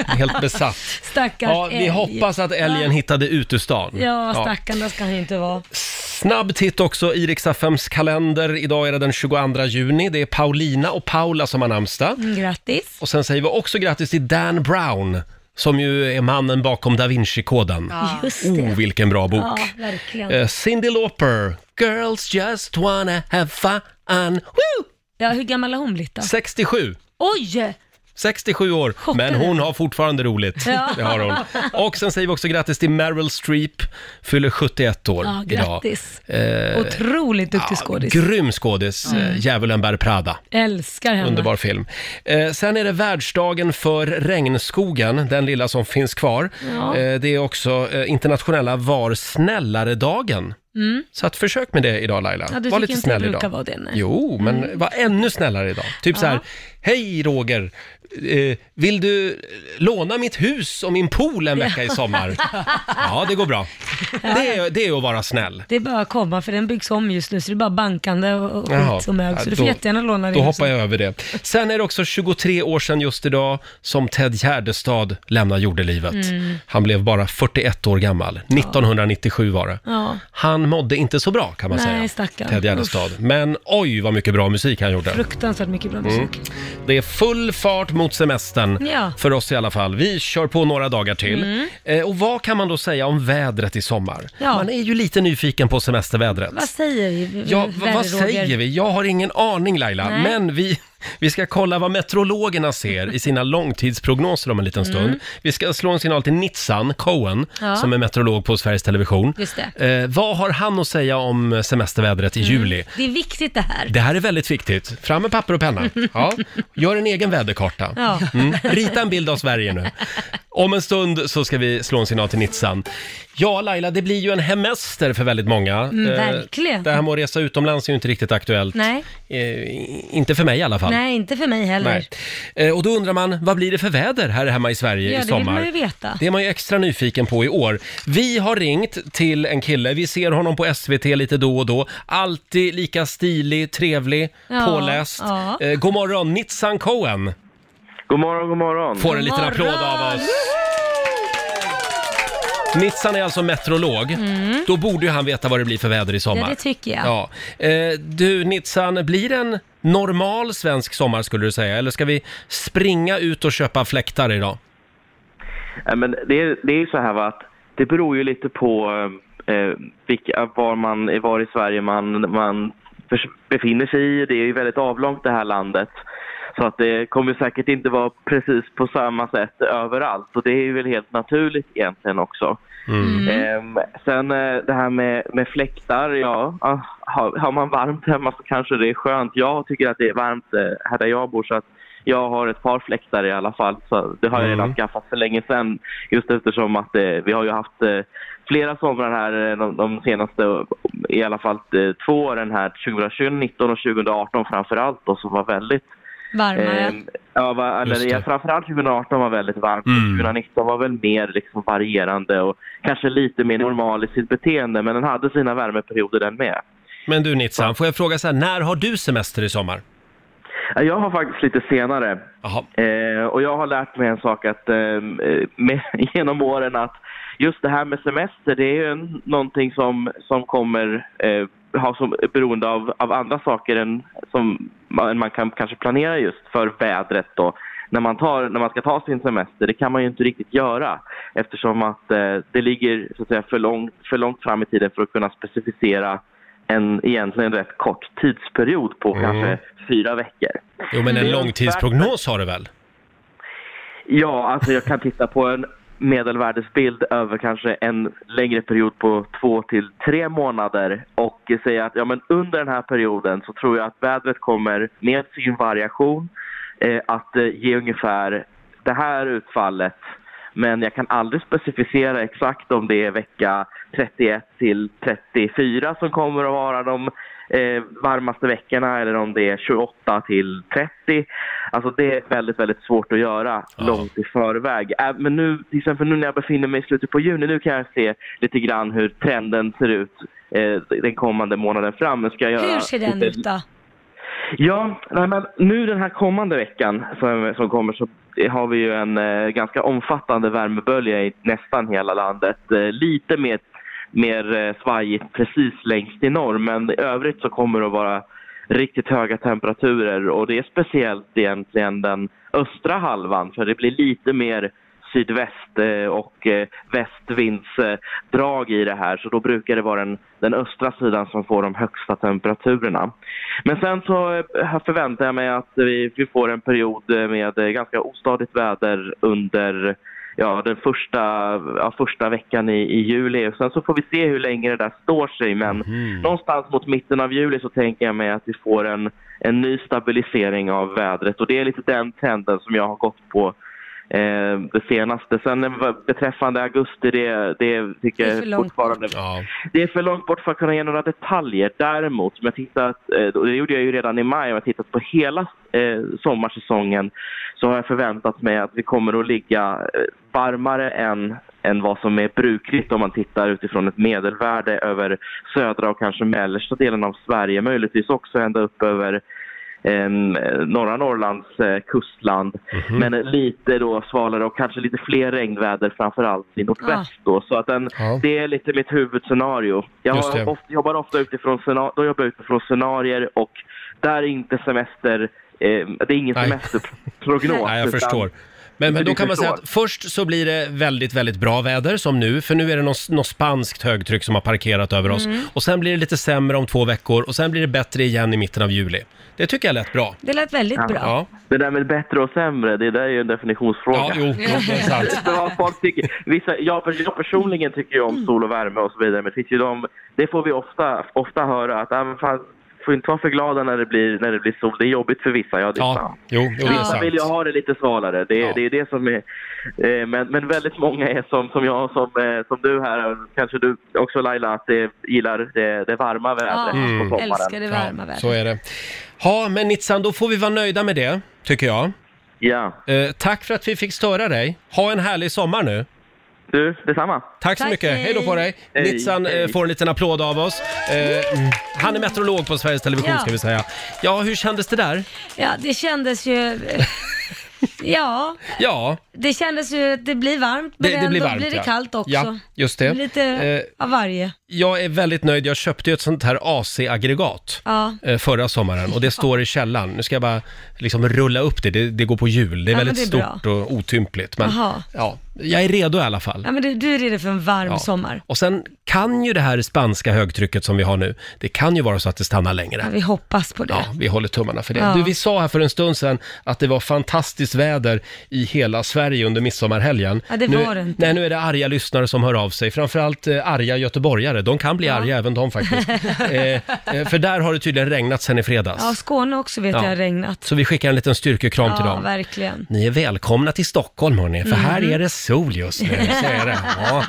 Speaker 1: Helt besatt.
Speaker 3: Stackars
Speaker 1: Ja, vi
Speaker 3: älg.
Speaker 1: hoppas att älgen hittade ut ur stan.
Speaker 3: Ja, stackarn, där ska han ju inte vara.
Speaker 1: Snabb titt också i Rix FMs kalender. Idag är det den 22 juni. Det är Paulina och Paula som har namnsdag.
Speaker 3: Mm, Grattis.
Speaker 1: Och sen säger vi också grattis till Dan Brown, som ju är mannen bakom Da Vinci-koden.
Speaker 3: Just det.
Speaker 1: Oh, vilken bra bok.
Speaker 3: Ja, verkligen.
Speaker 1: Eh, Cyndi Lauper, “Girls just wanna have fun”. Woo!
Speaker 3: Ja, hur gammal har hon blivit då?
Speaker 1: 67.
Speaker 3: Oj!
Speaker 1: 67 år,
Speaker 3: Chockad.
Speaker 1: men hon har fortfarande roligt.
Speaker 3: Ja.
Speaker 1: Det har hon. Och sen säger vi också grattis till Meryl Streep, fyller 71 år
Speaker 3: Ja,
Speaker 1: idag.
Speaker 3: grattis.
Speaker 1: Eh,
Speaker 3: Otroligt duktig skådis.
Speaker 1: Grym skådis, mm. Djävulen bär Prada.
Speaker 3: Älskar henne.
Speaker 1: Underbar film. Eh, sen är det världsdagen för regnskogen, den lilla som finns kvar.
Speaker 3: Ja.
Speaker 1: Eh, det är också eh, internationella Var snällare-dagen. Så att försök med det idag Laila.
Speaker 3: Mm. Ja, du
Speaker 1: var
Speaker 3: tycker
Speaker 1: lite
Speaker 3: inte
Speaker 1: snäll
Speaker 3: det brukar
Speaker 1: idag.
Speaker 3: vara det, nej. Mm.
Speaker 1: Jo, men var ännu snällare idag. Typ så här, hej Roger, eh, vill du låna mitt hus och min pool en vecka i sommar?
Speaker 3: <laughs>
Speaker 1: ja, det går bra. Det är, det är att vara snäll.
Speaker 3: Det är bara att komma för den byggs om just nu så det är bara bankande och och
Speaker 1: Jaha.
Speaker 3: skit som hög. Så
Speaker 1: Ja,
Speaker 3: du får
Speaker 1: då-
Speaker 3: jättegärna låna det.
Speaker 1: Då hoppar jag över det. Sen är det också 23 år sedan just idag som Ted Gärdestad lämnar jordelivet.
Speaker 3: Mm.
Speaker 1: Han blev bara 41 år gammal. 1997 var det.
Speaker 3: Ja.
Speaker 1: Han mådde inte så bra kan man
Speaker 3: Nej,
Speaker 1: säga,
Speaker 3: stackarn.
Speaker 1: Ted Gärdestad. Men oj vad mycket bra musik han gjorde.
Speaker 3: Fruktansvärt mycket bra
Speaker 1: Mm.
Speaker 3: musik.
Speaker 1: Det är full fart mot semestern,
Speaker 3: Ja. Mm.
Speaker 1: för oss i alla fall. Vi kör på några dagar till. Eh, och vad kan man då säga om vädret i sommar?
Speaker 3: Ja.
Speaker 1: Man är ju lite nyfiken på semestervädret.
Speaker 3: Vad säger vi?
Speaker 1: Ja, v-
Speaker 3: Mm, Värre,
Speaker 1: vad
Speaker 3: Roger?
Speaker 1: säger vi? Jag har ingen aning Laila,
Speaker 3: Nej.
Speaker 1: men vi, vi ska kolla vad meteorologerna ser i sina långtidsprognoser om en liten stund. Vi ska slå en signal till Nitsan Cohen,
Speaker 3: Mm. Ja.
Speaker 1: som är meteorolog på Sveriges Television.
Speaker 3: Just Mm.
Speaker 1: Eh, vad har han att säga om semestervädret i juli?
Speaker 3: Det är viktigt det här.
Speaker 1: Det här är väldigt viktigt. Fram
Speaker 3: <laughs>
Speaker 1: med papper och penna. Ja. Gör en egen väderkarta.
Speaker 3: Ja.
Speaker 1: Mm. Rita en bild av Sverige nu. Om en stund så ska vi slå en signal till Nitsan. Ja, Laila, det blir ju en hemester för väldigt många.
Speaker 3: Mm,
Speaker 1: Eh,
Speaker 3: verkligen.
Speaker 1: Det här med att resa utomlands är ju inte riktigt aktuellt.
Speaker 3: Nej.
Speaker 1: Eh, inte för mig i alla fall.
Speaker 3: Nej, inte för mig heller.
Speaker 1: Nej. Eh, Och då undrar man, vad blir det för väder här hemma i Sverige
Speaker 3: Ja,
Speaker 1: i
Speaker 3: det
Speaker 1: sommar?
Speaker 3: vill man ju veta.
Speaker 1: Det är man ju extra nyfiken på i år. Vi har ringt till en kille, vi ser honom på SVT lite då och då. Alltid lika stilig, trevlig,
Speaker 3: Ja,
Speaker 1: påläst.
Speaker 3: ja.
Speaker 1: Eh, god morgon, Nitsan Cohen
Speaker 8: God morgon, god morgon.
Speaker 1: får en liten
Speaker 3: morgon!
Speaker 1: applåd av oss. Nitsan är alltså meteorolog. Då borde ju han veta vad det blir för väder i sommar.
Speaker 3: Mm. Ja, det tycker jag.
Speaker 1: Ja. Eh, du Nitsan, blir det en normal svensk sommar skulle du säga? Eller ska vi springa ut och köpa fläktar idag?
Speaker 8: Nej, men det, är- det är ju så här va, att det beror ju lite på eh, vilka, var, man, var i Sverige man, man förs- befinner sig i. Det är ju väldigt avlångt det här landet. Så att det kommer säkert inte vara precis på samma sätt överallt. Och det är ju väl helt naturligt egentligen också. Ehm, sen eh, det här med, med fläktar, ja. ah, Har, har man varmt hemma så kanske det är skönt. Jag tycker att det är varmt eh, här där jag bor så att jag har ett par fläktar i alla fall. Så det har jag
Speaker 1: Mm.
Speaker 8: redan skaffat för länge sedan. Just eftersom att eh, vi har ju haft eh, flera somrar här eh, de, de senaste, i alla fall eh, två åren här, 2019 och 2018 framför allt då, som var väldigt
Speaker 3: Varmare.
Speaker 8: Ehm, ja, va,
Speaker 1: Just
Speaker 8: eller, ja,
Speaker 1: det.
Speaker 8: framförallt 2018 var väldigt varmt.
Speaker 1: Mm.
Speaker 8: 2019 var väl mer liksom varierande och kanske lite mer normal i sitt beteende, men den hade sina värmeperioder den med.
Speaker 1: Men du Nitsan, får jag fråga så här, när har du semester i sommar?
Speaker 8: Ja, Jag har faktiskt lite senare
Speaker 1: Jaha.
Speaker 8: eh, och jag har lärt mig en sak att, ehm, eh, med, <laughs> genom åren att just det här med semester, det är ju en- någonting som, som kommer eh, ha som beroende av, av andra saker än som man, man kan kanske planera just för vädret då. När man, tar, när man ska ta sin semester, det kan man ju inte riktigt göra eftersom att eh, det ligger så att säga, för, långt, för långt fram i tiden för att kunna specificera en egentligen rätt kort tidsperiod på kanske fyra veckor.
Speaker 1: Jo men en
Speaker 8: Det är
Speaker 1: långtidsprognos har du väl?
Speaker 8: Ja, alltså jag kan titta på en medelvärdesbild över kanske en längre period på två till tre månader och säga att ja, men under den här perioden så tror jag att vädret kommer med sin variation eh, att eh, ge ungefär det här utfallet. Men jag kan aldrig specificera exakt om det är vecka 31 till 34 som kommer att vara de eh, varmaste veckorna eller om det är 28 till 30. Alltså det är väldigt, väldigt svårt att göra
Speaker 1: Ja.
Speaker 8: långt i förväg. Äh, men nu, till exempel nu när jag befinner mig i slutet på juni, nu kan jag se lite grann hur trenden ser ut eh, den kommande månaden fram. Men Ska jag göra
Speaker 3: Hur ser den
Speaker 8: lite-
Speaker 3: ut då?
Speaker 8: Ja, nej, men nu den här kommande veckan som, som kommer så har vi ju en eh, ganska omfattande värmebölja i nästan hela landet. Eh, lite mer, mer eh, svajigt precis längst i norr men i övrigt så kommer det att vara riktigt höga temperaturer och det är speciellt egentligen den östra halvan för det blir lite mer sydväst eh, och eh, västvindsdrag i det här så då brukar det vara den, den östra sidan som får de högsta temperaturerna. Men sen så eh, förväntar jag mig att vi, vi får en period eh, med eh, ganska ostadigt väder under ja, den första, ja, första veckan i, i juli. Och sen så får vi se hur länge det där står sig. Men
Speaker 1: Mm.
Speaker 8: någonstans mot mitten av juli så tänker jag mig att vi får en, en ny stabilisering av vädret. Och det är lite den trenden som jag har gått på eh, det senaste. Sen eh, vad- beträffande augusti, det, det tycker
Speaker 3: Det är
Speaker 8: jag
Speaker 3: för långt
Speaker 8: fortfarande...
Speaker 1: Ja.
Speaker 8: Det är för långt bort för att kunna ge några detaljer. Däremot, om jag tittat, eh, och det gjorde jag ju redan i maj, om jag tittat på hela eh, sommarsäsongen så har jag förväntat mig att vi kommer att ligga eh, varmare än, än vad som är brukligt om man tittar utifrån ett medelvärde över södra och kanske mellersta delen av Sverige, möjligtvis också ända upp över eh, norra Norrlands eh, kustland. Men eh, lite då svalare och kanske lite fler regnväder framförallt i nordväst. Då, så att den,
Speaker 1: Ja.
Speaker 8: det är lite mitt huvudscenario. Jag
Speaker 1: Just det.
Speaker 8: har ofta, jobbar ofta utifrån, scena- då jobbar jag utifrån scenarier och där är inte semester eh, det är ingen
Speaker 1: Nej.
Speaker 8: semesterprognos.
Speaker 1: <laughs> Nej, jag
Speaker 8: utan-
Speaker 1: förstår. Men, men
Speaker 8: Men
Speaker 1: då
Speaker 8: du
Speaker 1: kan man säga
Speaker 8: förstår.
Speaker 1: att först så blir det väldigt, väldigt bra väder som nu, för nu är det något, något spanskt högtryck som har parkerat över oss.
Speaker 8: Mm.
Speaker 1: Och sen blir det lite sämre om två veckor och sen blir det bättre igen i mitten av juli. Det tycker jag lät bra.
Speaker 3: Det lät väldigt bra.
Speaker 1: Ja,
Speaker 8: Det där med bättre och sämre, det där är ju en definitionsfråga.
Speaker 1: ja jo, jo, det är sant.
Speaker 8: För <laughs> vad folk tycker, vissa, jag, pers- jag personligen tycker ju om sol och värme och så vidare, men det finns ju de, det får vi ofta, ofta höra att äh, men fan, får inte vara för glada när det blir, när det blir sol. Det är jobbigt för vissa, ja det är
Speaker 1: Ja,
Speaker 8: sant.
Speaker 1: jo, jo, det är
Speaker 8: Vissa vill ju
Speaker 1: sant.
Speaker 8: ha det lite svalare, det,
Speaker 1: Ja.
Speaker 8: det är det som är... Eh, men, men väldigt många är som, som jag, som, eh, som du här, och kanske du också Laila, att det gillar det, det varma vädret
Speaker 1: Mm.
Speaker 8: på sommaren.
Speaker 3: Älskar det varma
Speaker 1: Ja, så
Speaker 3: vädret.
Speaker 1: är det. Ja, men Nitsan, då får vi vara nöjda med det, tycker jag.
Speaker 8: Ja.
Speaker 1: Eh, tack för att vi fick störa dig. Ha en härlig sommar nu.
Speaker 8: Du, detsamma.
Speaker 1: Tack så
Speaker 3: Tack,
Speaker 1: mycket.
Speaker 3: hej.
Speaker 1: Hej då på dig.
Speaker 8: Hej,
Speaker 1: Nitsan eh,
Speaker 8: hej.
Speaker 1: får en liten applåd av oss. Eh, mm, han är meteorolog på Sveriges Television
Speaker 3: Ja.
Speaker 1: ska vi säga. Ja, hur kändes det där?
Speaker 3: Ja, det kändes ju...
Speaker 1: <laughs>
Speaker 3: Ja,
Speaker 1: Ja,
Speaker 3: det kändes ju att det blir varmt, men
Speaker 1: det, det
Speaker 3: ändå
Speaker 1: blir varmt.
Speaker 3: blir det
Speaker 1: ja.
Speaker 3: kallt också.
Speaker 1: Ja, just det.
Speaker 3: Lite
Speaker 1: Eh,
Speaker 3: av varje.
Speaker 1: jag är väldigt nöjd. Jag köpte ju ett sånt här AC-aggregat.
Speaker 3: Ja.
Speaker 1: eh, förra sommaren och det står i källaren. Nu ska jag bara liksom rulla upp det, det, det går på jul. Det är
Speaker 3: Ja, men
Speaker 1: väldigt
Speaker 3: det är bra.
Speaker 1: stort och otympligt. Men
Speaker 3: Jaha.
Speaker 1: ja, jag är redo i alla fall.
Speaker 3: Ja, men du, du är redo för en varm
Speaker 1: Ja.
Speaker 3: sommar.
Speaker 1: Och sen kan ju det här spanska högtrycket som vi har nu, det kan ju vara så att det stannar längre.
Speaker 3: Ja, vi hoppas på det.
Speaker 1: Ja, vi håller tummarna för det.
Speaker 3: Mm. Ja.
Speaker 1: Du, vi sa här för en stund sedan att det var fantastiskt väder i hela Sverige under midsommarhelgen.
Speaker 3: Ja, det
Speaker 1: nu,
Speaker 3: var det inte.
Speaker 1: Nej, nu är det arga lyssnare som hör av sig. Framförallt eh, arga göteborgare. De kan bli arga även
Speaker 3: <laughs>
Speaker 1: de faktiskt. eh, eh, för där har det tydligen regnat sen i fredags.
Speaker 3: Ja, Skåne också vet
Speaker 1: Ja.
Speaker 3: jag har regnat.
Speaker 1: Så vi skickar en liten styrkekram till
Speaker 3: Ja,
Speaker 1: dem.
Speaker 3: verkligen.
Speaker 1: Ni är välkomna till Stockholm hörni, för här är det sol just nu. Så är det. Ja,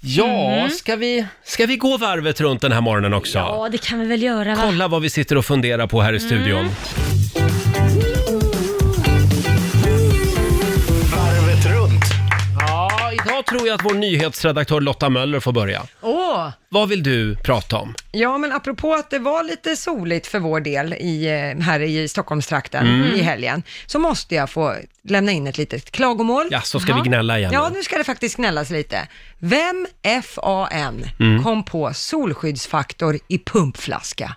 Speaker 1: ja ska, vi, ska vi gå varvet runt den här morgonen också?
Speaker 3: Ja, det kan vi väl göra va?
Speaker 1: Kolla vad vi sitter och funderar på här i studion.
Speaker 9: Varvet runt.
Speaker 1: Ja, idag tror jag att vår nyhetsredaktör Lotta Möller får börja.
Speaker 7: Åh!
Speaker 1: Vad vill du prata om?
Speaker 7: Ja, men apropå att det var lite soligt för vår del i, eh, här i Stockholmstrakten i helgen, så måste jag få lämna in ett litet klagomål.
Speaker 1: Ja, så ska vi gnälla igen
Speaker 7: Ja,
Speaker 1: nu.
Speaker 7: nu ska det faktiskt gnällas lite. Vem FAN kom på solskyddsfaktor i pumpflaska?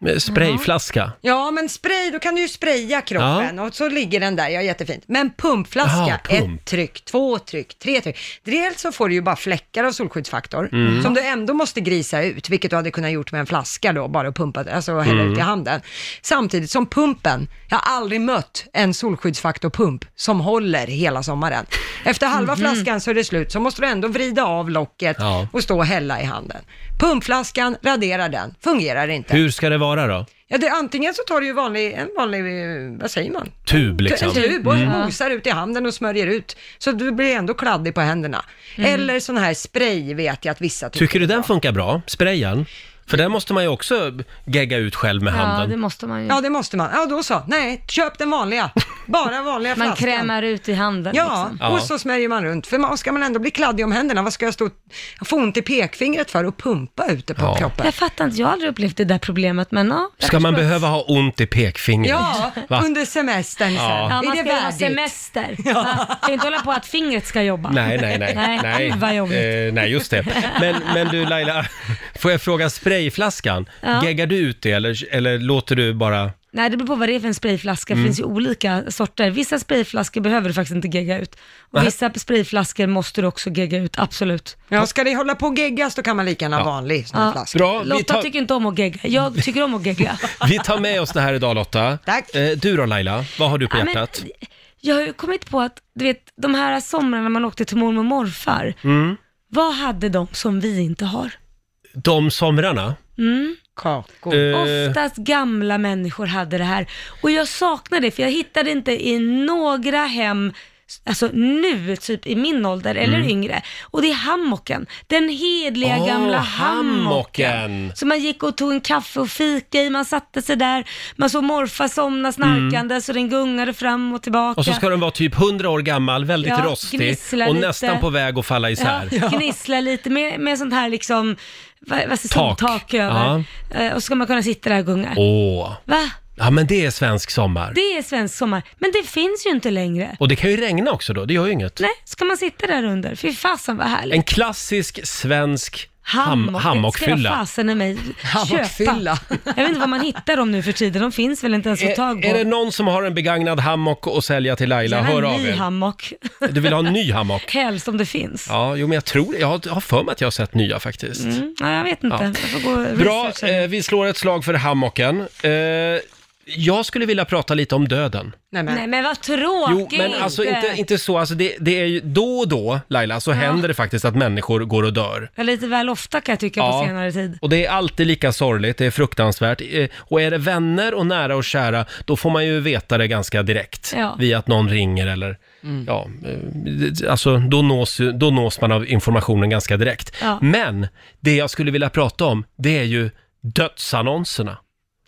Speaker 1: Med Sprayflaska?
Speaker 7: Ja, men spray, då kan du ju spraya kroppen och så ligger den där, ja jättefint. Men
Speaker 1: Jaha,
Speaker 7: pumpflaska,
Speaker 1: pump.
Speaker 7: ett tryck, två tryck, tre tryck. Dels så får du ju bara fläckar av solskyddsfaktor
Speaker 1: Mm.
Speaker 7: som du ändå måste grisa ut, vilket du hade kunnat gjort med en flaska då, bara och pumpa, alltså hälla
Speaker 1: Mm.
Speaker 7: ut i handen. Samtidigt som pumpen, jag har aldrig mött en solskyddsfaktorpump som håller hela sommaren. Efter halva flaskan så är det slut, så måste du ändå vrida av locket
Speaker 1: Mhm. Ja.
Speaker 7: och stå och hälla i handen. Pumpflaskan, radera den, fungerar inte.
Speaker 1: Hur ska det vara då?
Speaker 7: Ja, det, antingen så tar du ju vanlig, en vanlig, eh, vad säger man?
Speaker 1: Tub liksom?
Speaker 7: En tub och mosar ut i handen och smörjer ut. Så du blir ändå kladdig på händerna.
Speaker 3: Mm.
Speaker 7: Eller sån här spray vet jag att vissa tycker.
Speaker 1: Tycker du
Speaker 7: är
Speaker 1: den
Speaker 7: bra.
Speaker 1: funkar bra? Sprayen? För den måste man ju också gegga ut själv med
Speaker 3: Ja,
Speaker 1: handen.
Speaker 3: det måste man ju.
Speaker 7: Ja, det måste man. Ja, då så. Nej, köp den vanliga. Bara vanliga
Speaker 3: Man
Speaker 7: flaskan.
Speaker 3: krämar ut i handen
Speaker 7: Ja,
Speaker 3: liksom.
Speaker 1: Ja.
Speaker 7: och så smörjer man runt. För man, ska man ändå bli kladdig om händerna, vad ska jag stå få ont i pekfingret för och pumpa ute på
Speaker 1: Ja.
Speaker 7: kroppen?
Speaker 3: Jag fattar inte, jag har aldrig upplevt det där problemet men ja. jag
Speaker 1: Ska man
Speaker 3: förstår.
Speaker 1: behöva ha ont i pekfingret?
Speaker 7: Ja,
Speaker 1: Va?
Speaker 7: under semestern sen.
Speaker 1: Ja.
Speaker 3: Ja, man
Speaker 7: Är det
Speaker 3: ska ju ha
Speaker 7: värdigt?
Speaker 3: semester. Man ska inte hålla på att fingret ska jobba.
Speaker 1: Nej, nej, nej.
Speaker 3: Nej, gud vad jobbigt.
Speaker 1: Eh, nej, just det. Men, men du Laila, får jag fråga sprayflaskan?
Speaker 3: Ja.
Speaker 1: Geggar du ut det eller, eller låter du bara...
Speaker 3: Nej, det beror på vad det är för en sprayflaska. Det
Speaker 1: Mm.
Speaker 3: finns ju olika sorter. Vissa sprayflaskor behöver du faktiskt inte gegga ut. Och vissa sprayflaskor måste du också gegga ut, absolut.
Speaker 7: Ja, ska det hålla på och geggas, då kan man lika gärna ha vanlig sån här
Speaker 3: Ja.
Speaker 7: flaska.
Speaker 1: Bra, vi
Speaker 3: Lotta
Speaker 1: tar,
Speaker 3: tycker inte om att gegga. Jag
Speaker 1: <laughs>
Speaker 3: tycker om att gegga.
Speaker 1: vi tar med oss det här idag Lotta.
Speaker 7: Tack.
Speaker 1: Eh, du då Laila, vad har du på
Speaker 3: Ja, men,
Speaker 1: hjärtat?
Speaker 3: jag har ju kommit på att, du vet, de här somrarna man åkte till mormor och morfar.
Speaker 1: Mm.
Speaker 3: Vad hade de som vi inte har?
Speaker 1: De somrarna?
Speaker 7: Kakor.
Speaker 1: Eh,
Speaker 3: Oftast gamla människor hade det här. Och jag saknar det, för jag hittade inte i några hem, alltså nu, typ i min ålder eller yngre. Och det är hammocken. Den hedliga
Speaker 1: Mm. Åh,
Speaker 3: gamla hammocken.
Speaker 1: hammocken.
Speaker 3: Så man gick och tog en kaffe och fika i, man satte sig där, man såg morfar somna snarkande så den gungade fram och tillbaka.
Speaker 1: Mm. Och så ska den vara typ 100 år gammal, väldigt
Speaker 3: Ja,
Speaker 1: rostig
Speaker 3: gnissla
Speaker 1: och
Speaker 3: lite.
Speaker 1: nästan på väg att falla isär.
Speaker 3: Ja, gnissla lite med, med sånt här liksom, vad, vad säger
Speaker 1: Tak.
Speaker 3: tak. tak över. Eh, Och så ska man kunna sitta där och gunga.
Speaker 1: Åh,
Speaker 3: Va?
Speaker 1: ja men det är svensk sommar.
Speaker 3: Det är svensk sommar, men det finns ju inte längre.
Speaker 1: Och det kan ju regna också då, det gör ju inget.
Speaker 3: Nej, ska man sitta där under? Fy fasen vad härligt.
Speaker 1: En klassisk svensk
Speaker 3: Hammock,
Speaker 1: ham-
Speaker 3: Det ska jag
Speaker 1: hammockfylla.
Speaker 3: fasen i mig
Speaker 7: Hammockfylla.
Speaker 3: köpa. Jag vet inte vad man hittar dem nu för tiden, de finns väl inte ens att få tag
Speaker 1: Är,
Speaker 3: på.
Speaker 1: är det någon som har en begagnad hammock att sälja till Laila,
Speaker 3: Gärna
Speaker 1: hör
Speaker 3: en
Speaker 1: av
Speaker 3: ny
Speaker 1: er.
Speaker 3: hammock. <laughs>
Speaker 1: Du vill ha en ny hammock?
Speaker 3: Helst om det finns. Ja.
Speaker 1: Ja, jo men jag tror det. Jag har jag har för mig att jag har sett nya faktiskt.
Speaker 3: Mm, nej, jag vet inte, jag får gå och
Speaker 1: Bra,
Speaker 3: researcha.
Speaker 1: eh, vi slår ett slag för hammocken. Eh, Jag skulle vilja prata lite om döden.
Speaker 7: Nej, men.
Speaker 3: Nej men vad tråkigt!
Speaker 1: Jo, men alltså inte, inte så, alltså det, det är ju då och då, Laila, så händer det faktiskt att människor går och dör.
Speaker 3: Ja, Lite väl ofta kan jag tycka på senare tid.
Speaker 1: och det är alltid lika sorgligt, det är fruktansvärt. Eh, Och är det vänner och nära och kära, då får man ju veta det ganska direkt.
Speaker 3: Ja.
Speaker 1: Via att någon ringer eller, ja, eh, det- alltså då nås, ju- då nås man av informationen ganska direkt.
Speaker 3: Ja.
Speaker 1: Men det jag skulle vilja prata om, det är ju dödsannonserna.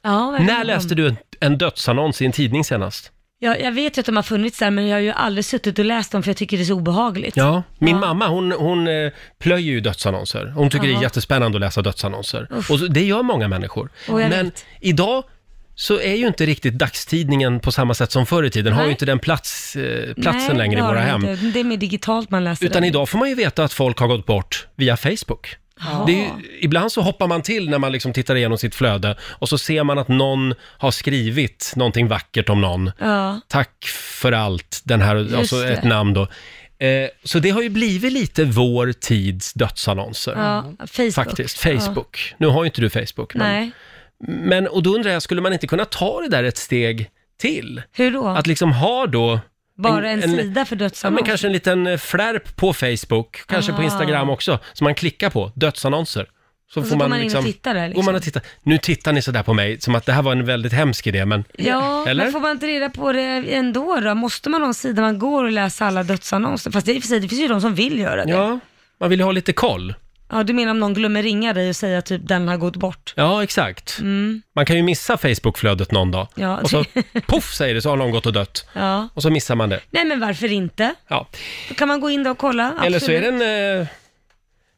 Speaker 3: Ja, verkligen.
Speaker 1: När läste du en, en dödsannons i en tidning senast?
Speaker 3: Ja, jag vet ju att de har funnits där, men jag har ju aldrig suttit och läst dem för jag tycker det är så obehagligt.
Speaker 1: Ja, min
Speaker 3: Ja.
Speaker 1: mamma hon, hon eh, plöjer ju dödsannonser. Hon tycker det är
Speaker 3: Jaha.
Speaker 1: jättespännande att läsa dödsannonser.
Speaker 3: Uff.
Speaker 1: Och så- det gör många människor.
Speaker 3: Och jag
Speaker 1: Men
Speaker 3: vet.
Speaker 1: idag så är ju inte riktigt dagstidningen på samma sätt som förr i tiden. Har ju
Speaker 3: Nej.
Speaker 1: inte den plats, eh, platsen
Speaker 3: Nej,
Speaker 1: längre i
Speaker 3: det har
Speaker 1: våra
Speaker 3: de
Speaker 1: hem.
Speaker 3: inte. Det är mer digitalt man läser
Speaker 1: Utan
Speaker 3: det.
Speaker 1: idag får man ju veta att folk har gått bort via Facebook. Det är ju, ibland så hoppar man till när man liksom tittar igenom sitt flöde och så ser man att någon har skrivit någonting vackert om någon.
Speaker 3: Ja.
Speaker 1: Tack för allt, den här, alltså
Speaker 3: det.
Speaker 1: ett namn då. Eh, så det har ju blivit lite vår tids dödsannonser.
Speaker 3: ja, Facebook.
Speaker 1: Faktiskt, Facebook. Nu har ju inte du Facebook.
Speaker 3: Ja.
Speaker 1: Men,
Speaker 3: Nej,
Speaker 1: men, och då undrar jag, skulle man inte kunna ta det där ett steg till?
Speaker 3: hur då?
Speaker 1: Att liksom ha då
Speaker 3: Bara en,
Speaker 1: en-
Speaker 3: sida för
Speaker 1: Ja,
Speaker 3: dödsannons?
Speaker 1: men kanske en liten eh, flärp på Facebook, kanske på
Speaker 3: Ah.
Speaker 1: Instagram också, som man klickar på, dödsannonser. Så,
Speaker 3: så går man in och tittar där, liksom.
Speaker 1: Går man och tittar. Nu tittar ni sådär på mig, som att det här var en väldigt hemsk idé, men...
Speaker 3: Ja,
Speaker 1: Eller?
Speaker 3: men får man inte reda på det ändå då? Måste man ha en sida man går och läser alla dödsannonser? Fast det, är i och för sig, det finns ju de som vill göra det.
Speaker 1: Ja, man vill ju ha lite koll.
Speaker 3: Ja, du menar om någon glömmer ringa dig och säga typ den har gått bort?
Speaker 1: Ja, exakt. Man kan ju missa Facebook-flödet någon dag.
Speaker 3: Mm. Ja,
Speaker 1: Och så
Speaker 3: det- <laughs>
Speaker 1: poff säger det, så har någon gått och dött.
Speaker 3: Ja.
Speaker 1: Och så missar man det.
Speaker 3: Nej, men varför inte?
Speaker 1: Ja.
Speaker 3: Då kan man gå in där och kolla. Absolut.
Speaker 1: Eller så är den... Eh...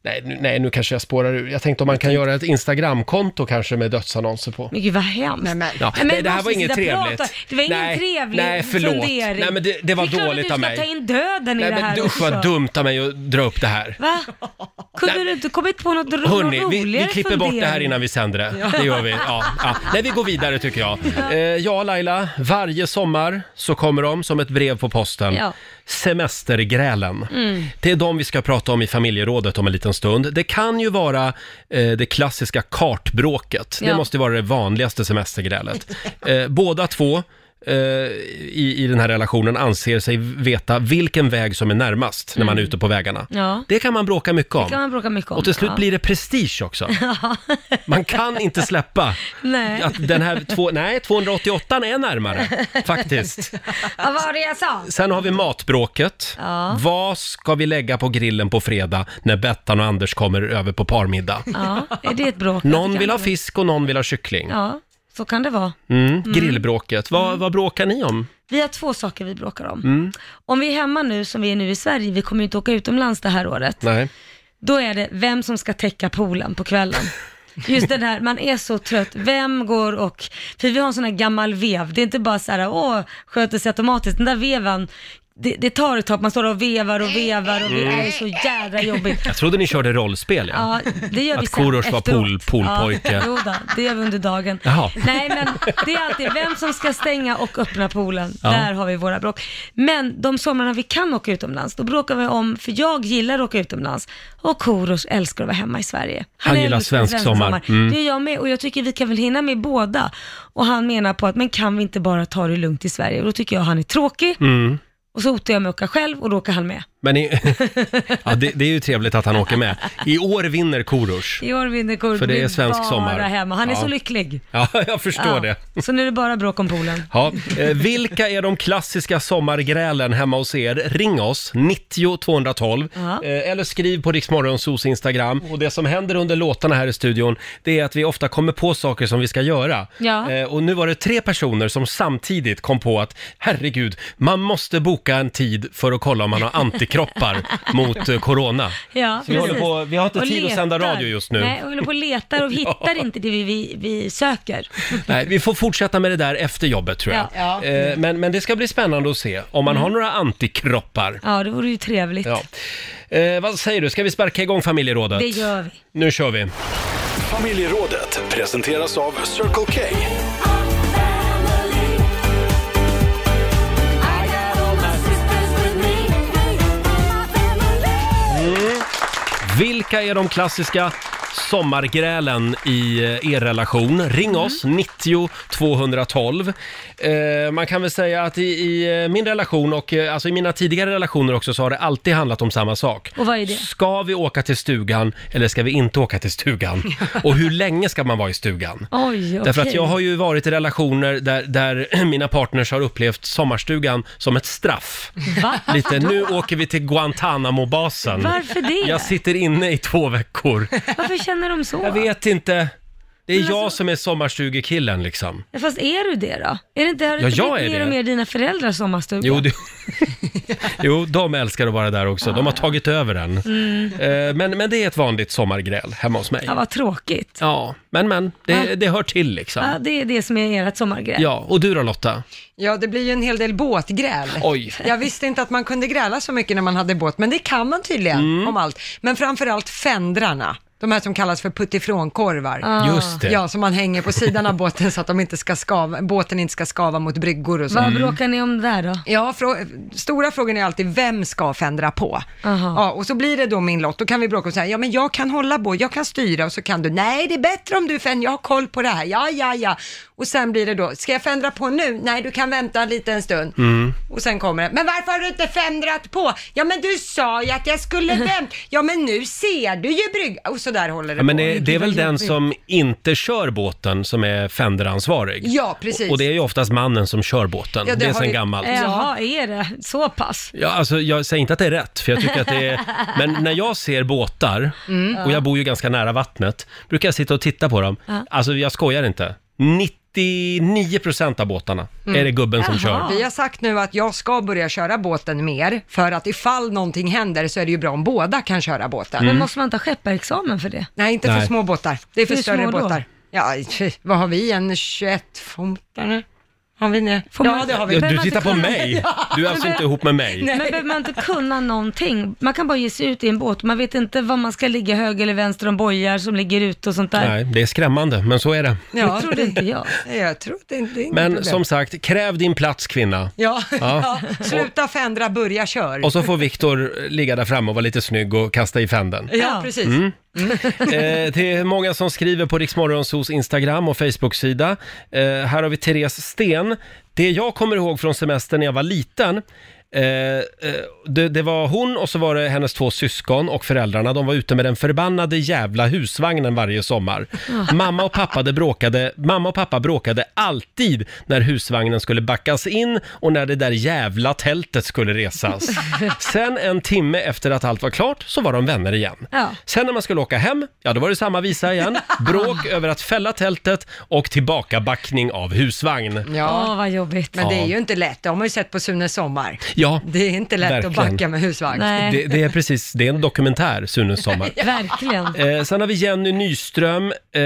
Speaker 1: Nej, nu- nej, nu kanske jag spårar ur. Jag tänkte om man kan göra ett Instagram-konto kanske med dödsannonser på.
Speaker 3: Men gud vad hemskt.
Speaker 7: Nej, men.
Speaker 1: Ja,
Speaker 3: Nej, men
Speaker 1: nej, det här
Speaker 3: måste
Speaker 1: var inget
Speaker 3: sitta och
Speaker 1: trevligt.
Speaker 3: prata. Det var ingen
Speaker 1: nej,
Speaker 3: trevlig
Speaker 1: Nej, förlåt.
Speaker 3: fundering.
Speaker 1: Nej, men det, det var
Speaker 3: är klart att
Speaker 1: dåligt av mig.
Speaker 3: Du ska ta in döden i
Speaker 1: nej,
Speaker 3: det
Speaker 1: men
Speaker 3: här
Speaker 1: usch vad
Speaker 3: också.
Speaker 1: dumt av mig att dra upp det här.
Speaker 3: Va? <laughs> Kunde du inte kommit på något ro-
Speaker 1: Hörni,
Speaker 3: roligare
Speaker 1: vi, vi klipper bort det
Speaker 3: <laughs>
Speaker 1: här
Speaker 3: fundering?
Speaker 1: innan vi sänder det. Det gör vi. Ja, ja. Nej, vi går vidare tycker jag. Eh, ja, Laila, varje sommar så kommer de som ett brev på posten.
Speaker 3: Ja.
Speaker 1: Semestergrälen. Det är de vi ska prata om i familjerådet om en liten stund. Det kan ju vara eh, det klassiska kartbråket. Det
Speaker 3: Ja.
Speaker 1: måste ju vara det vanligaste <laughs> semestergrälet. Eh, båda två eh, i, i den här relationen anser sig veta vilken väg som är närmast när man är ute på vägarna.
Speaker 3: Ja.
Speaker 1: Det kan man bråka mycket om.
Speaker 3: Det kan man bråka mycket om.
Speaker 1: Och till slut
Speaker 3: ja.
Speaker 1: blir det prestige också.
Speaker 3: <laughs>
Speaker 1: Man kan inte släppa
Speaker 3: Nej.
Speaker 1: att den här två, nej, 288 är närmare faktiskt.
Speaker 3: Ja, vad var det jag sa?
Speaker 1: Sen har vi matbråket.
Speaker 3: Ja.
Speaker 1: Vad ska vi lägga på grillen på fredag när Bettan och Anders kommer över på parmiddag?
Speaker 3: Ja, är det ett bråk?
Speaker 1: Någon vill ha fisk och någon vill ha kyckling.
Speaker 3: Ja, Mm. så kan det vara.
Speaker 1: Mm. Grillbråket. Vad, vad bråkar ni om?
Speaker 3: Vi har två saker vi bråkar om.
Speaker 1: Mm.
Speaker 3: Om vi är hemma nu, som vi är nu i Sverige, vi kommer ju inte åka utomlands det här året.
Speaker 1: Nej.
Speaker 3: Då är det vem som ska täcka poolen på kvällen. Just den här, man är så trött. Vem går och... För vi har en sån här gammal vev. Det är inte bara så här, åh, sköter sig automatiskt. Den där vevan, det, det tar ett tag. Man står och vevar och vevar och det är så jädra jobbigt.
Speaker 1: Jag trodde ni körde rollspel, ja.
Speaker 3: Ja, det gör vi
Speaker 1: Att
Speaker 3: sen
Speaker 1: Korosh var
Speaker 3: efteråt.
Speaker 1: pool- poolpojke.
Speaker 3: Ja, jo då, det gör vi under dagen.
Speaker 1: Jaha.
Speaker 3: Nej, men det är alltid vem som ska stänga och öppna poolen.
Speaker 1: Ja.
Speaker 3: Där har vi våra bråk. Men de somrarna vi kan åka utomlands, då bråkar vi om, för jag gillar att åka utomlands och Korosh älskar att vara hemma i Sverige.
Speaker 1: Han gillar
Speaker 3: älskar
Speaker 1: svensk sommar. Mm.
Speaker 3: Det gör jag med och jag tycker vi kan väl hinna med båda. Och han menar på att, men kan vi inte bara ta det lugnt i Sverige? Och då tycker jag han är tråkig.
Speaker 1: Mm.
Speaker 3: Och så hotar jag med att åka själv och då åker han med.
Speaker 1: Men i, <laughs> ja, det, det är ju trevligt att han åker med. I år vinner Korosh.
Speaker 3: I år vinner Korosh,
Speaker 1: För det
Speaker 3: blir
Speaker 1: är svensk
Speaker 3: bara
Speaker 1: sommar.
Speaker 3: hemma. Han är
Speaker 1: Ja.
Speaker 3: så lycklig.
Speaker 1: Ja, jag förstår
Speaker 3: Ja,
Speaker 1: det.
Speaker 3: Så nu är det bara bråk om poolen.
Speaker 1: Ja, eh, vilka är de klassiska sommargrälen hemma hos er? Ring oss, 90 212
Speaker 3: Ja.
Speaker 1: eh, eller skriv på Riksmorgonsos Instagram. Och det som händer under låtarna här i studion, det är att vi ofta kommer på saker som vi ska göra.
Speaker 3: Ja.
Speaker 1: Eh, och nu var det tre personer som samtidigt kom på att herregud, man måste boka en tid för att kolla om man har antikroppar mot eh, corona.
Speaker 3: Ja,
Speaker 1: Så vi håller
Speaker 3: precis.
Speaker 1: på- vi har inte tid att sända radio just nu.
Speaker 3: Nej, vi håller på och letar
Speaker 1: <laughs>
Speaker 3: och hittar inte det vi, vi, vi söker.
Speaker 1: Nej, vi får fortsätta med det där efter jobbet tror jag.
Speaker 7: Ja.
Speaker 1: Eh, men, men det ska bli spännande att se om man har några antikroppar.
Speaker 3: Ja, det vore ju trevligt.
Speaker 1: Ja. Eh, vad säger du, ska vi sparka igång familjerådet?
Speaker 3: Det gör vi.
Speaker 1: Nu kör vi.
Speaker 4: Familjerådet presenteras av Circle K.
Speaker 1: Vilka är de klassiska sommargrälen i eh, er relation. Ring oss,
Speaker 3: Mm.
Speaker 1: 90 212. Eh, man kan väl säga att i, i eh, min relation och eh, alltså i mina tidigare relationer också så har det alltid handlat om samma sak.
Speaker 3: Och vad är det?
Speaker 1: Ska vi åka till stugan eller ska vi inte åka
Speaker 3: <laughs>
Speaker 1: till stugan? Och hur länge ska man vara i stugan?
Speaker 3: Oj,
Speaker 1: Därför att
Speaker 3: okej.
Speaker 1: jag har ju varit i relationer där, där <clears throat> mina partners har upplevt sommarstugan som ett straff.
Speaker 3: Va?
Speaker 1: Lite, nu åker vi till Guantanamo-basen.
Speaker 3: Varför det?
Speaker 1: Jag sitter inne i två veckor.
Speaker 3: Varför känner de så?
Speaker 1: Jag vet inte. Det är
Speaker 3: alltså-
Speaker 1: jag som är sommarstugekillen liksom.
Speaker 3: Fast är du det då? Är det inte, har det
Speaker 1: Ja,
Speaker 3: inte
Speaker 1: jag
Speaker 3: blivit mer
Speaker 1: är det.
Speaker 3: och mer dina föräldrar sommarstuga?
Speaker 1: Jo, du... <laughs> jo, de älskar att vara där också. De har tagit över den. Eh, Men, men det är ett vanligt sommargräl hemma hos mig.
Speaker 3: Mm. Ja, vad tråkigt.
Speaker 1: Ja, men men, det, det hör till liksom.
Speaker 3: Ja, det är det som är ert sommargräl.
Speaker 1: Ja, och du då Lotta?
Speaker 7: Ja, det blir ju en hel del båtgräl.
Speaker 1: <laughs> Oj.
Speaker 7: Jag visste inte att man kunde gräla så mycket när man hade båt, men det kan man tydligen
Speaker 1: Mm.
Speaker 7: om allt. Men framförallt fändrarna, de här som kallas för puttifrånkorvar.
Speaker 1: Just det.
Speaker 7: Ja, som man hänger på sidan av båten så att de inte ska skava, båten inte ska skava mot bryggor och så.
Speaker 3: Vad
Speaker 1: Mm.
Speaker 3: bråkar ni om där då?
Speaker 7: Ja, frå- stora frågan är alltid vem ska fändra på?
Speaker 3: Aha.
Speaker 7: Ja, och så blir det då min lott. Då kan vi bråka och säga, ja men jag kan hålla på, jag kan styra och så kan du, nej det är bättre om du fänder, jag har koll på det här, ja ja ja. Och sen blir det då, ska jag fändra på nu? Nej, du kan vänta en liten stund.
Speaker 1: Mm.
Speaker 7: Och sen kommer det, men varför har du inte fändrat på? Ja men du sa ju att jag skulle vänta, ja men nu ser du ju brygg... Och så där håller det
Speaker 1: Ja, men
Speaker 7: på.
Speaker 1: det, det är väl den som inte kör båten som är fänderansvarig.
Speaker 7: Ja, precis.
Speaker 1: Och, och det är ju oftast mannen som kör båten.
Speaker 7: Ja,
Speaker 1: det,
Speaker 7: det har
Speaker 1: är sen
Speaker 7: ju-
Speaker 1: gammalt.
Speaker 3: Jaha, är det så pass?
Speaker 1: Ja, alltså, jag säger inte att det är rätt, för jag tycker att det är... Men när jag ser båtar, och jag bor ju ganska nära vattnet, brukar jag sitta och titta på dem. Alltså, jag skojar inte. 99% av båtarna är det gubben som kör.
Speaker 7: Vi har sagt nu att jag ska börja köra båten mer, för att ifall någonting händer så är det ju bra om båda kan köra båten.
Speaker 1: Mm.
Speaker 3: Men måste man ta skepparexamen för det?
Speaker 7: Nej, inte
Speaker 1: Nej.
Speaker 7: för små båtar. Det är för
Speaker 3: Hur
Speaker 7: större
Speaker 3: små då?
Speaker 7: båtar. Ja, tj, vad har vi? En 21 fontar nu? Har vi nu?
Speaker 3: Får
Speaker 7: ja,
Speaker 3: man-
Speaker 7: det har vi.
Speaker 1: Ja,
Speaker 3: Behöver
Speaker 1: du
Speaker 3: man
Speaker 1: tittar
Speaker 3: inte
Speaker 1: på
Speaker 3: kunna-
Speaker 1: mig! Du är alltså inte ihop med mig.
Speaker 3: Men behöver man inte kunna någonting? Man kan bara ge sig ut i en båt. Man vet inte var man ska ligga höger eller vänster om bojar som ligger ute och sånt där.
Speaker 1: Nej, det är skrämmande, men så är det.
Speaker 7: Ja,
Speaker 3: Det trodde inte jag.
Speaker 7: Nej, Jag tror det är inte det är inget
Speaker 1: Men
Speaker 7: problem.
Speaker 1: som sagt, kräv din plats kvinna.
Speaker 7: Ja,
Speaker 1: Ja.
Speaker 7: <laughs> ja. sluta fändra, börja kör.
Speaker 1: Och så får Viktor ligga där framme och vara lite snygg och kasta i fänden.
Speaker 7: Ja, precis.
Speaker 1: Mm. Eh, det är många som skriver på Riksmorgonsos Instagram och Facebook-sida. Eh, här har vi Therese Sten. Det jag kommer ihåg från semestern när jag var liten, eh, eh, det, det var hon och så var det hennes två syskon och föräldrarna. De var ute med den förbannade jävla husvagnen varje sommar. Mamma och pappa, det bråkade, mamma och pappa bråkade alltid när husvagnen skulle backas in och när det där jävla tältet skulle resas. Sen en timme efter att allt var klart så var de vänner igen.
Speaker 3: Ja.
Speaker 1: Sen när man skulle åka hem, ja då var det samma visa igen. Bråk över att fälla tältet och tillbakabackning av husvagn.
Speaker 3: Åh,
Speaker 7: Ja,
Speaker 3: vad jobbigt.
Speaker 7: men det är ju inte lätt. Det har man ju sett på Sunes sommar.
Speaker 1: Ja,
Speaker 7: Det är inte lätt
Speaker 1: Verkligen.
Speaker 7: att backa med husvagn.
Speaker 3: Nej,
Speaker 1: det, det är precis, det är en dokumentär, Sunes sommar.
Speaker 3: verkligen.
Speaker 1: Eh, sen har vi Jenny Nyström. Eh,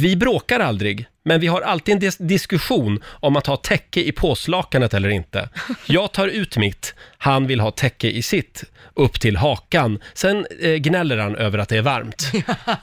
Speaker 1: vi bråkar aldrig, men vi har alltid en dis- diskussion om att ha täcke i påslakanet eller inte. Jag tar ut mitt, han vill ha täcke i sitt, upp till hakan. Sen eh, gnäller han över att det är varmt.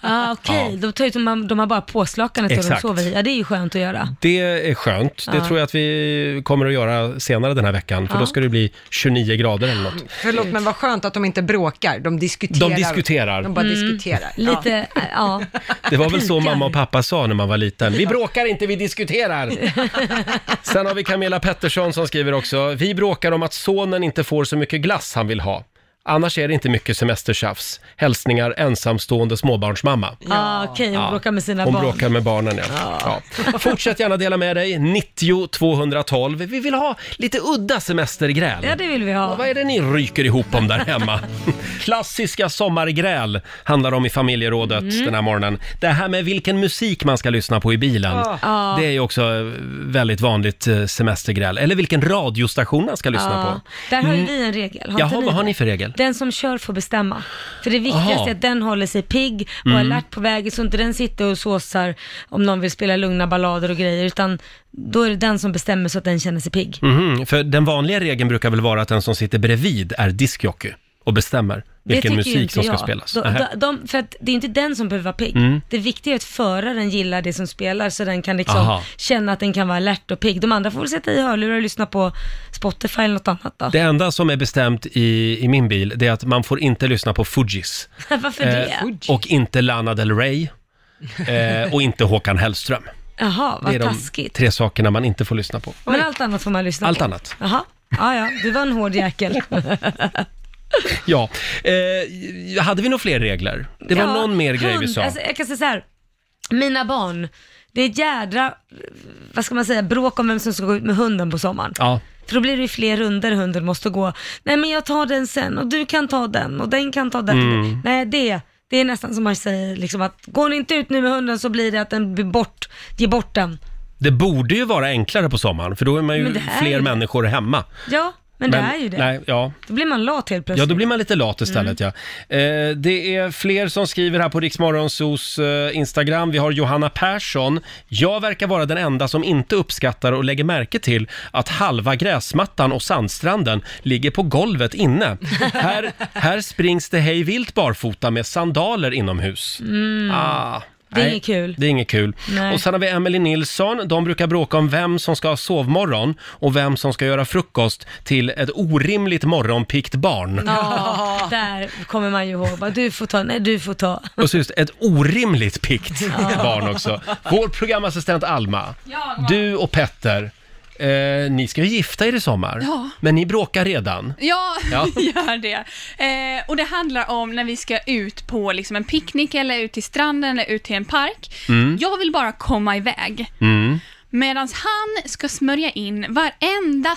Speaker 3: Ah, Okej, de tar ut de, de har bara påslakanet och de
Speaker 1: Exakt.
Speaker 3: sover i. Ja, det är ju skönt att göra.
Speaker 1: Det är skönt. Det tror jag att vi kommer att göra senare den här veckan, för då ska det bli 29 grader eller något.
Speaker 7: Förlåt, men vad skönt att de inte bråkar. De diskuterar.
Speaker 1: De diskuterar.
Speaker 7: De bara diskuterar. Ja.
Speaker 3: Mm. Lite, äh, ja. ja.
Speaker 1: Det var väl så
Speaker 3: Pikar.
Speaker 1: mamma och pappa sa när man var liten. Vi bråkar inte, vi diskuterar! Sen har vi Camilla Pettersson som skriver också. Vi bråkar om att sonen inte får så mycket glass han vill ha. Annars är det inte mycket semestertjafs. Hälsningar ensamstående småbarnsmamma.
Speaker 3: Ah, Okej, hon bråkar med sina
Speaker 1: Hon
Speaker 3: barn.
Speaker 1: bråkar med barnen, ja. ja. Fortsätt gärna dela med dig, 90 212. Vi vill ha lite udda semestergräl.
Speaker 3: Ja, det vill vi
Speaker 1: Ja,
Speaker 3: ha.
Speaker 1: vad är det ni ryker ihop om där hemma?
Speaker 3: <laughs>
Speaker 1: Klassiska sommargräl handlar om i familjerådet
Speaker 3: Mm.
Speaker 1: den här morgonen. Det här med vilken musik man ska lyssna på i bilen, det är ju också eh, väldigt vanligt eh, semestergräl. Eller vilken radiostation man ska lyssna
Speaker 3: Ja.
Speaker 1: på. Mm.
Speaker 3: Där har ju vi en regel. Har inte
Speaker 1: Jaha, vad har
Speaker 3: det?
Speaker 1: ni för regel?
Speaker 3: Den som kör får bestämma. För det viktigaste
Speaker 1: Aha.
Speaker 3: är att den håller sig pigg och
Speaker 1: Mm.
Speaker 3: alert på vägen så inte den sitter och såsar om någon vill spela lugna ballader och grejer utan då är det den som bestämmer
Speaker 1: Mm.
Speaker 3: så att den känner sig pigg.
Speaker 1: Mhm, för den vanliga regeln brukar väl vara att den som sitter bredvid är diskjockey. och bestämmer vilken
Speaker 3: tycker ju
Speaker 1: musik
Speaker 3: inte
Speaker 1: som ska
Speaker 3: jag.
Speaker 1: spelas.
Speaker 3: De,
Speaker 1: Nähä.
Speaker 3: de, de, för att det är inte den som behöver vara pigg.
Speaker 1: Mm.
Speaker 3: Det viktiga är att föraren gillar det som spelar så den kan liksom
Speaker 1: Aha.
Speaker 3: känna att den kan vara alert och pigg. De andra får väl sätta i hörlurar och lyssna på Spotify eller något annat då.
Speaker 1: Det enda som är bestämt i, i min bil, det är att man får inte lyssna på Fugees.
Speaker 3: <laughs> Varför det?
Speaker 1: Eh, och inte Lana Del
Speaker 3: <laughs>
Speaker 1: Rey. Eh, och inte Håkan Hellström.
Speaker 3: Jaha,
Speaker 1: Det är
Speaker 3: vad
Speaker 1: de
Speaker 3: taskigt.
Speaker 1: tre sakerna man inte får lyssna på.
Speaker 3: Men allt annat får man lyssna
Speaker 1: Allt
Speaker 3: på?
Speaker 1: annat.
Speaker 3: Jaha, ja, ja, du var en hård jäkel.
Speaker 1: Ja. Eh, hade vi några fler regler? Det var
Speaker 3: Ja,
Speaker 1: någon mer grej vi
Speaker 3: hund-
Speaker 1: sa.
Speaker 3: Alltså, jag kan säga så här. Mina barn, det är ett jädra, vad ska man säga, bråk om vem som ska gå ut med hunden på sommaren.
Speaker 1: Ja.
Speaker 3: För då blir det ju fler runder hunden måste gå. Nej men jag tar den sen och du kan ta den och den kan ta den.
Speaker 1: Mm.
Speaker 3: Nej det, det är nästan som man säger liksom att går ni inte ut nu med hunden så blir det att den blir bort, ge bort den.
Speaker 1: Det borde ju vara enklare på sommaren, för då är man ju
Speaker 3: Men det här är
Speaker 1: fler
Speaker 3: ju-
Speaker 1: människor hemma.
Speaker 3: Ja, men, det är ju det.
Speaker 1: Nej, ja.
Speaker 3: Då blir man lat helt
Speaker 1: Ja,
Speaker 3: plötsligt. Mm.
Speaker 1: då blir man lite lat istället ja. Eh, det är fler som skriver här på Riksmorgonsos eh, Instagram. Vi har Johanna Persson. Jag verkar vara den enda som inte uppskattar och lägger märke till att halva gräsmattan och sandstranden ligger på
Speaker 3: <laughs>
Speaker 1: golvet inne. här, här springs det hej vilt barfota med sandaler inomhus.
Speaker 3: Mm.
Speaker 1: Ah.
Speaker 3: Det är
Speaker 1: nej,
Speaker 3: inget kul.
Speaker 1: Det är inget kul.
Speaker 3: Nej.
Speaker 1: Och sen har vi Emily Nilsson. De brukar bråka om vem som ska ha sovmorgon och vem som ska göra frukost till ett orimligt morgonpikt barn.
Speaker 3: Ja, där kommer man ju ihåg. Bara, Du får ta, nej du får ta.
Speaker 1: Och så just ett orimligt pikt
Speaker 3: Ja.
Speaker 1: barn också. Vår programassistent Alma,
Speaker 6: Ja, god
Speaker 1: du och Petter, eh, ni ska ju gifta er i sommar.
Speaker 6: Ja.
Speaker 1: Men ni bråkar redan.
Speaker 6: Ja,
Speaker 1: Ja.
Speaker 6: <laughs> gör det. Eh, och det handlar om när vi ska ut på liksom en picknick eller ut till stranden eller ut till en park.
Speaker 5: Mm.
Speaker 6: Jag vill bara komma iväg.
Speaker 5: Mm.
Speaker 6: Medan han ska smörja in varenda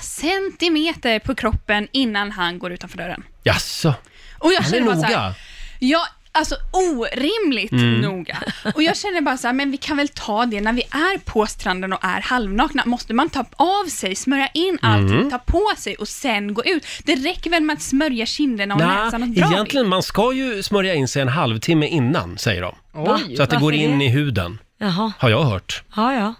Speaker 6: centimeter på kroppen innan han går utanför dörren.
Speaker 1: Jaså?
Speaker 6: Och jag
Speaker 1: Han är
Speaker 6: känner bara så
Speaker 1: noga.
Speaker 6: här, ja, alltså orimligt
Speaker 1: Mm.
Speaker 6: noga. Och jag känner bara så här, men vi kan väl ta det när vi är på stranden och är halvnakna. Måste man ta av sig, smörja in allting,
Speaker 1: Mm.
Speaker 6: ta på sig och sen gå ut? Det räcker väl med att smörja kinderna och
Speaker 1: Nja,
Speaker 6: näsan och dra vid?
Speaker 1: egentligen man ska ju smörja in sig en halvtimme innan, säger de.
Speaker 6: Va?
Speaker 1: Så att det går
Speaker 6: Varför
Speaker 1: in
Speaker 6: det?
Speaker 1: i huden,
Speaker 3: Jaha.
Speaker 1: har jag hört.
Speaker 3: Ja, ja.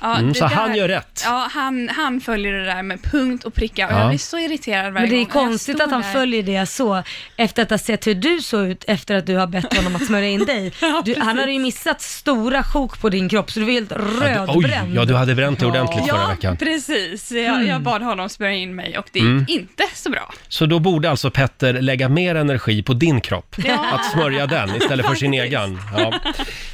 Speaker 6: Ja,
Speaker 1: Mm,
Speaker 6: det
Speaker 1: så han gör rätt.
Speaker 6: Ja, han, han följer det där med punkt och pricka och
Speaker 1: Ja.
Speaker 6: jag blir så irriterad varje
Speaker 3: Men det är
Speaker 6: gång. Och jag
Speaker 3: konstigt
Speaker 6: står
Speaker 3: att han
Speaker 6: där.
Speaker 3: följer det så, efter att ha sett hur du såg ut efter att du har bett honom att smörja in
Speaker 1: <laughs>
Speaker 3: dig. Du, han hade ju missat stora sjok på din kropp, så du var helt
Speaker 1: Ja, du, oj,
Speaker 3: rödbränd.
Speaker 1: ja, du hade bränt dig ordentligt
Speaker 6: ja,
Speaker 1: förra veckan.
Speaker 6: precis. Jag,
Speaker 3: Mm.
Speaker 6: jag bad honom smörja in mig och det gick
Speaker 1: Mm.
Speaker 6: inte så bra.
Speaker 1: Så då borde alltså Petter lägga mer energi på din kropp,
Speaker 6: Ja.
Speaker 1: att smörja den
Speaker 3: <laughs>
Speaker 1: istället för sin egen. Ja.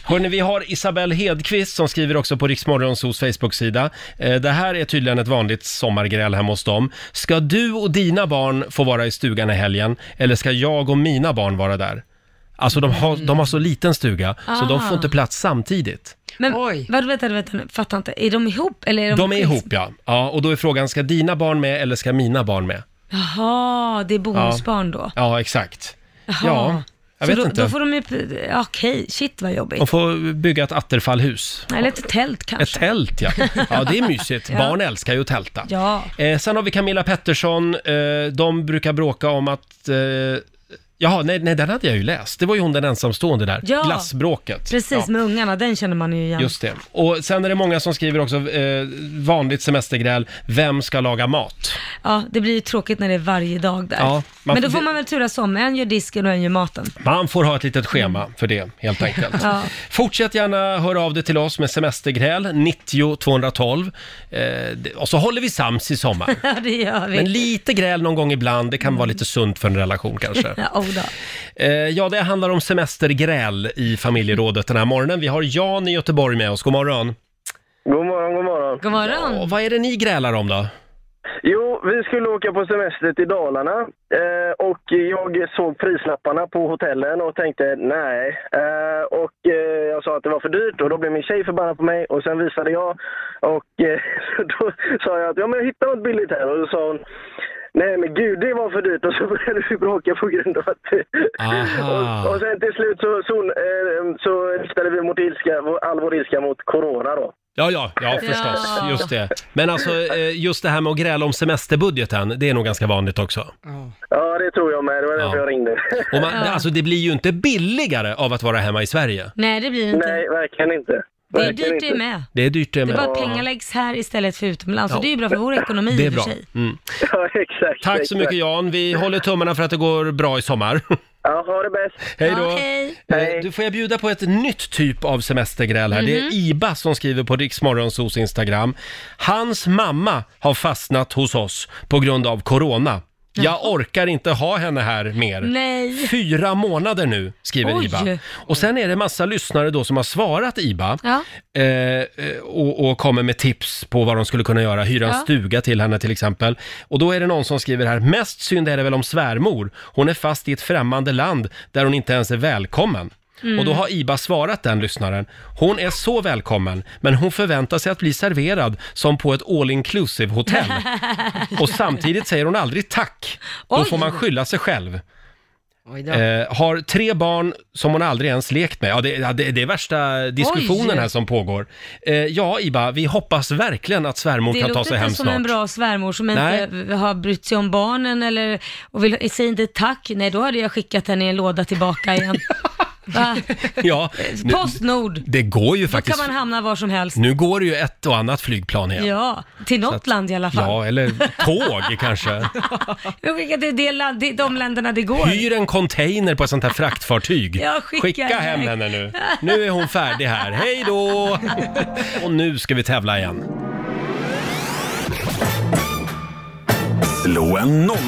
Speaker 1: Hörrni, vi har Isabelle Hedqvist som skriver också på Riksmorgonsos Facebook-sida. Eh, Det här är tydligen ett vanligt sommargräl hemma hos dem. Ska du och dina barn få vara i stugan i helgen eller ska jag och mina barn vara där? Alltså de har, de har så liten stuga så de
Speaker 3: Ah.
Speaker 1: får inte plats samtidigt.
Speaker 3: Men vadå, vänta, vänta nu, fattar inte. Är de ihop eller är de
Speaker 1: De är
Speaker 3: skils-
Speaker 1: ihop ja. ja. Och då är frågan, ska dina barn med eller ska mina barn med?
Speaker 3: Jaha, det är bonusbarn då.
Speaker 1: Ja, exakt.
Speaker 3: Jaha.
Speaker 1: Ja, jag
Speaker 3: så
Speaker 1: vet
Speaker 3: då,
Speaker 1: inte.
Speaker 3: Då får de ju, ja, okej, shit vad jobbigt.
Speaker 1: De får bygga ett atterfallhus.
Speaker 3: Eller ett tält kanske.
Speaker 1: Ett tält ja. Ja, det är mysigt.
Speaker 3: <laughs> Ja.
Speaker 1: Barn älskar ju att tälta.
Speaker 3: Ja.
Speaker 1: Eh, sen har vi Camilla Pettersson. Eh, de brukar bråka om att... Eh, jaha, nej, nej, den hade jag ju läst. Det var ju hon den ensamstående där.
Speaker 3: Ja.
Speaker 1: Glassbråket.
Speaker 3: Precis,
Speaker 1: Ja.
Speaker 3: med ungarna, den känner man ju igen.
Speaker 1: Just det. Och sen är det många som skriver också, eh, vanligt semestergräl, vem ska laga mat?
Speaker 3: Ja, det blir ju tråkigt när det är varje dag där.
Speaker 1: Ja, man
Speaker 3: Men då
Speaker 1: får-
Speaker 3: får man väl turas om, en gör disken och en gör maten.
Speaker 1: Man får ha ett litet schema för det, helt enkelt.
Speaker 3: Ja. <laughs>
Speaker 1: Fortsätt gärna höra av dig till oss med semestergräl, 90 212. Eh, det- och så håller vi sams i sommar.
Speaker 3: Ja, det gör vi.
Speaker 1: Men lite gräl någon gång ibland, det kan vara lite sunt för en relation kanske.
Speaker 3: Mm. <laughs> Ja, oh då.
Speaker 1: Eh, ja, det handlar om semestergräl i familjerådet den här morgonen. Vi har Jan i Göteborg med oss, god morgon.
Speaker 9: God morgon, god morgon.
Speaker 3: God morgon.
Speaker 1: Ja, vad är det ni grälar om då?
Speaker 9: Jo, vi skulle åka på semester till Dalarna eh, och jag såg prislapparna på hotellen och tänkte nej. Eh, och eh, jag sa att det var för dyrt och då blev min tjej förbannad på mig och sen visade jag och eh, <laughs> då sa jag att ja, men jag hittade något billigt här och då sa hon Nej men gud, det var för dyrt och så <laughs> började vi bråka på grund av att...
Speaker 1: Aha.
Speaker 9: <laughs> Och, och sen till slut så, så, eh, så riktade vi mot ilska, all vår ilska mot corona då.
Speaker 1: Ja, ja, ja förstås,
Speaker 9: Ja.
Speaker 1: just det. Men alltså, eh, just det här med att gräla om semesterbudgeten, det är nog ganska vanligt också.
Speaker 9: Ja, det tror jag med. Det var därför jag ringde.
Speaker 1: Och man, Alltså det blir ju inte billigare av att vara hemma i Sverige.
Speaker 3: Nej, det blir det inte.
Speaker 9: Nej, verkligen inte.
Speaker 3: Det är
Speaker 9: Verkar
Speaker 3: dyrt det
Speaker 9: inte.
Speaker 3: med.
Speaker 1: Det är dyrt eh, det
Speaker 3: Det är
Speaker 1: med.
Speaker 3: bara att pengar läggs här istället för utomlands.
Speaker 1: Ja.
Speaker 3: Och det är ju bra för vår ekonomi
Speaker 1: Det är
Speaker 3: i och för
Speaker 1: bra.
Speaker 3: sig.
Speaker 1: Mm.
Speaker 9: <laughs> Ja, exakt.
Speaker 1: Tack så
Speaker 9: exakt.
Speaker 1: mycket Jan. Vi håller tummarna för att det går bra i sommar. <laughs>
Speaker 9: Ja, ha det bäst.
Speaker 1: Hej
Speaker 3: Ja,
Speaker 1: då!
Speaker 3: hej.
Speaker 1: Eh, Du får jag bjuda på ett nytt typ av semestergräl här.
Speaker 3: Mhm.
Speaker 1: Det är Iba som skriver på Riksmorgonsos Instagram. Hans mamma har fastnat hos oss på grund av corona. Jag orkar inte ha henne här mer.
Speaker 3: Nej.
Speaker 1: Fyra månader nu, skriver
Speaker 3: Oj.
Speaker 1: Iba. Och sen är det massa lyssnare då som har svarat Iba
Speaker 3: Ja.
Speaker 1: eh, eh, och, och kommer med tips på vad de skulle kunna göra. Hyra en
Speaker 3: Ja.
Speaker 1: stuga till henne till exempel. Och då är det någon som skriver här, mest synd är det väl om svärmor. Hon är fast i ett främmande land där hon inte ens är välkommen.
Speaker 3: Mm.
Speaker 1: Och då har Iba svarat den lyssnaren. Hon är så välkommen, men hon förväntar sig att bli serverad som på ett all inclusive
Speaker 3: <laughs>
Speaker 1: hotell. Och samtidigt säger hon aldrig tack. Då
Speaker 3: Oj.
Speaker 1: får man skylla sig själv.
Speaker 2: Oj då.
Speaker 1: Eh, har tre barn som hon aldrig ens lekt med. Ja, det, ja, det, det är värsta diskussionen
Speaker 3: Oj.
Speaker 1: här som pågår. Eh, ja, Iba, vi hoppas verkligen att svärmor
Speaker 3: Det
Speaker 1: kan ta
Speaker 3: låter
Speaker 1: sig
Speaker 3: inte
Speaker 1: hem
Speaker 3: som
Speaker 1: snart.
Speaker 3: en bra svärmor som
Speaker 1: Nej.
Speaker 3: inte har brytt sig om barnen eller och vill, säger inte tack. Nej, då hade jag skickat henne i en låda tillbaka
Speaker 1: <laughs>
Speaker 3: igen. Va?
Speaker 1: <laughs> Ja, nu,
Speaker 3: Postnord.
Speaker 1: det går ju
Speaker 3: Då kan
Speaker 1: faktiskt.
Speaker 3: man hamna var som helst.
Speaker 1: Nu går det ju ett och annat flygplan igen.
Speaker 3: Ja, till något land i alla fall.
Speaker 1: Ja, eller
Speaker 3: <laughs>
Speaker 1: tåg kanske.
Speaker 3: Jag skickar till det land, det- de länderna det går.
Speaker 1: Hyr en container på ett sånt här fraktfartyg.
Speaker 3: Ja, skicka
Speaker 1: hem
Speaker 3: iväg.
Speaker 1: henne nu. Nu är hon färdig här. Hej då! Och nu ska vi tävla igen.
Speaker 4: Slå en 08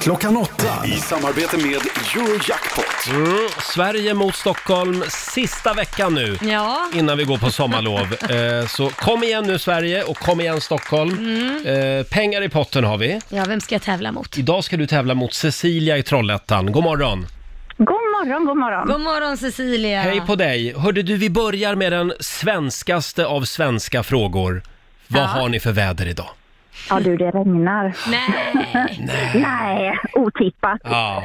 Speaker 4: klockan 8 i samarbete med Eurojackpot.
Speaker 1: Mm, Sverige mot Stockholm, sista veckan nu.
Speaker 3: Ja,
Speaker 1: innan vi går på sommarlov.
Speaker 3: <laughs>
Speaker 1: Eh, så kom igen nu Sverige och kom igen Stockholm. Eh, pengar i potten har vi.
Speaker 3: Mm. ja, vem ska jag tävla mot?
Speaker 1: Idag ska du tävla mot Cecilia i Trollhättan. God morgon!
Speaker 10: God morgon, god morgon.
Speaker 3: God morgon Cecilia.
Speaker 1: Hej på dig! Hörde du, vi börjar med den svenskaste av svenska frågor. Vad har ni för väder idag?
Speaker 10: Ja du, det regnar.
Speaker 3: Nej,
Speaker 10: Nej, otippat.
Speaker 1: Ja.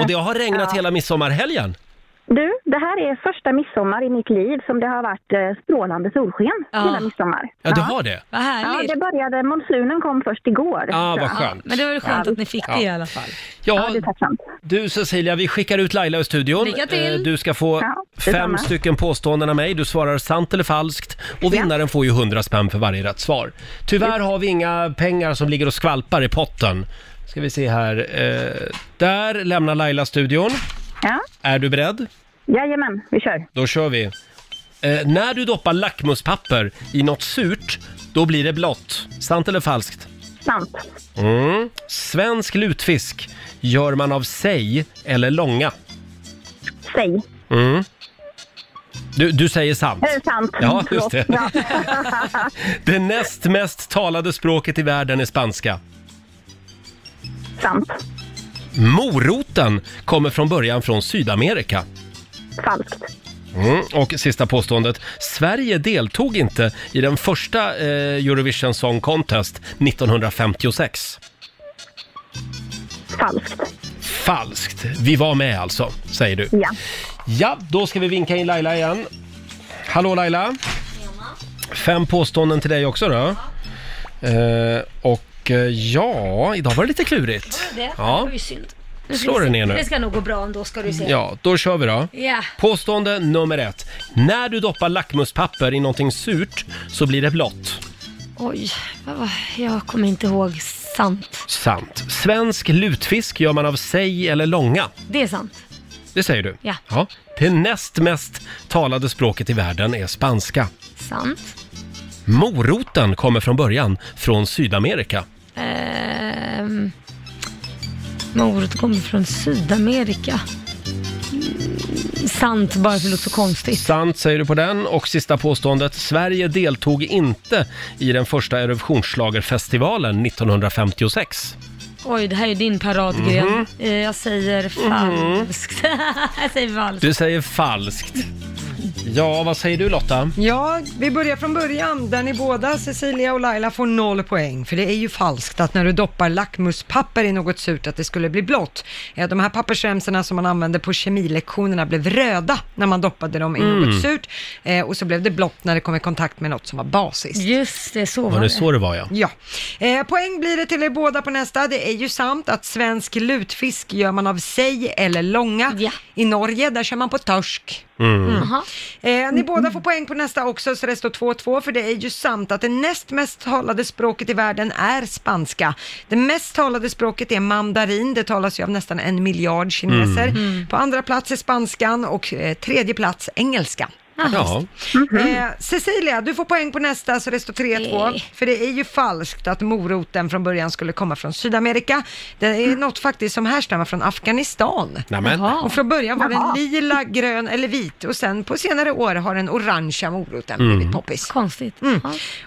Speaker 1: Och det har regnat hela midsommarhelgen.
Speaker 10: Du, det här är första midsommar i mitt liv som det har varit eh, strålande solsken
Speaker 3: Ja.
Speaker 10: hela midsommar.
Speaker 1: Ja, det har det.
Speaker 3: vad
Speaker 10: Ja,
Speaker 3: härligt.
Speaker 10: det började, monsunen kom först igår.
Speaker 1: Ja,
Speaker 10: Så,
Speaker 1: vad skönt.
Speaker 3: Men det var väl skönt att ni fick det i alla fall.
Speaker 10: Ja,
Speaker 1: Ja,
Speaker 10: det är tacksamt.
Speaker 1: du Cecilia, vi skickar ut Laila ur studion.
Speaker 3: Lycka till.
Speaker 1: Eh, Du ska få
Speaker 10: Ja,
Speaker 1: fem
Speaker 10: detsamma.
Speaker 1: stycken påståenden av mig. Du svarar sant eller falskt och vinnaren får ju 100 spänn för varje rätt svar. Tyvärr har vi inga pengar som ligger och skvalpar i potten. Ska vi se här. Eh, där lämnar Laila studion.
Speaker 10: Ja.
Speaker 1: Är du beredd?
Speaker 10: Jajamän, vi kör.
Speaker 1: Då kör vi. Eh, när du doppar lackmuspapper i något surt, då blir det blått. Sant eller falskt?
Speaker 10: Sant.
Speaker 1: Mm. Svensk lutfisk gör man av sig eller långa?
Speaker 10: Säg. Eh,
Speaker 1: Mm. Du, du säger sant.
Speaker 10: Är det sant?
Speaker 1: Ja, just det.
Speaker 10: Ja.
Speaker 1: Det näst mest talade språket i världen är spanska.
Speaker 10: sant.
Speaker 1: Moroten kommer från början från Sydamerika.
Speaker 10: Falskt.
Speaker 1: Mm. Och sista påståendet. Sverige deltog inte i den första eh, Eurovision Song Contest 1956.
Speaker 10: Falskt.
Speaker 1: Falskt. Vi var med alltså, säger du.
Speaker 10: Ja.
Speaker 1: Ja, då ska vi vinka in Laila igen. Hallå Laila! Fem påståenden till dig också då. Eh, och eh, ja, idag var det lite klurigt.
Speaker 3: Det
Speaker 1: Ja,
Speaker 3: var ju synd. Nu ska
Speaker 1: slår
Speaker 3: vi
Speaker 1: den
Speaker 3: se.
Speaker 1: ner nu.
Speaker 3: Det ska nog gå bra ändå ska du se.
Speaker 1: Ja, då kör vi då.
Speaker 3: Ja.
Speaker 1: Påstående nummer ett. När du doppar lackmuspapper i någonting surt så blir det blått.
Speaker 3: Oj, vad var- jag kommer inte ihåg. Sant.
Speaker 1: Sant. Svensk lutfisk gör man av sig eller långa.
Speaker 3: Det är sant.
Speaker 1: Det säger du?
Speaker 3: Ja.
Speaker 1: ja. Det näst mest talade språket i världen är spanska.
Speaker 3: Sant.
Speaker 1: Moroten kommer från början från Sydamerika.
Speaker 3: Ehm... Morot kommer från Sydamerika. Mm, sant, bara för det låter så konstigt.
Speaker 1: Sant säger du på den. Och sista påståendet. Sverige deltog inte i den första Eurovisionsschlagerfestivalen 1956.
Speaker 3: Oj, det här är din paradgren. Eh, Jag säger falskt. <laughs> jag säger falskt.
Speaker 1: Du säger falskt. Ja, vad säger du Lotta?
Speaker 7: Ja, vi börjar från början där ni båda, Cecilia och Laila, får noll poäng. För det är ju falskt att när du doppar lackmuspapper i något surt att det skulle bli blått. Eh, De här pappersremsorna som man använde på kemilektionerna blev röda när man doppade dem i något surt. eh, Och så blev det blått när det kom i kontakt med något som var basiskt.
Speaker 3: Just det, så
Speaker 1: Var
Speaker 3: var
Speaker 1: det
Speaker 3: det.
Speaker 1: så det var ja?
Speaker 7: Ja, eh, poäng blir det till er båda på nästa. Det är ju sant att svensk lutfisk gör man av sig eller långa.
Speaker 3: Ja.
Speaker 7: I Norge, där kör man på torsk.
Speaker 3: Jaha.
Speaker 7: Eh, ni
Speaker 5: Mm,
Speaker 7: båda får poäng på nästa också, så det står 2-2, för det är ju sant att det näst mest talade språket i världen är spanska. Det mest talade språket är mandarin, det talas ju av nästan en miljard kineser.
Speaker 5: Mm. Mm.
Speaker 7: På andra plats är spanskan och eh, tredje plats engelska.
Speaker 5: Ja. Mm-hmm.
Speaker 7: Eh, Cecilia, du får poäng på nästa så det står 3-2. För det är ju falskt att moroten från början skulle komma från Sydamerika. Det är
Speaker 5: Mm.
Speaker 7: något faktiskt som härstammar från Afghanistan.
Speaker 1: Nämen. Jaha.
Speaker 7: Och från början var
Speaker 1: Jaha.
Speaker 7: den lila, grön eller vit och sen på senare år har den orangea moroten
Speaker 1: Mm.
Speaker 7: blivit poppis.
Speaker 3: Konstigt.
Speaker 7: Mm.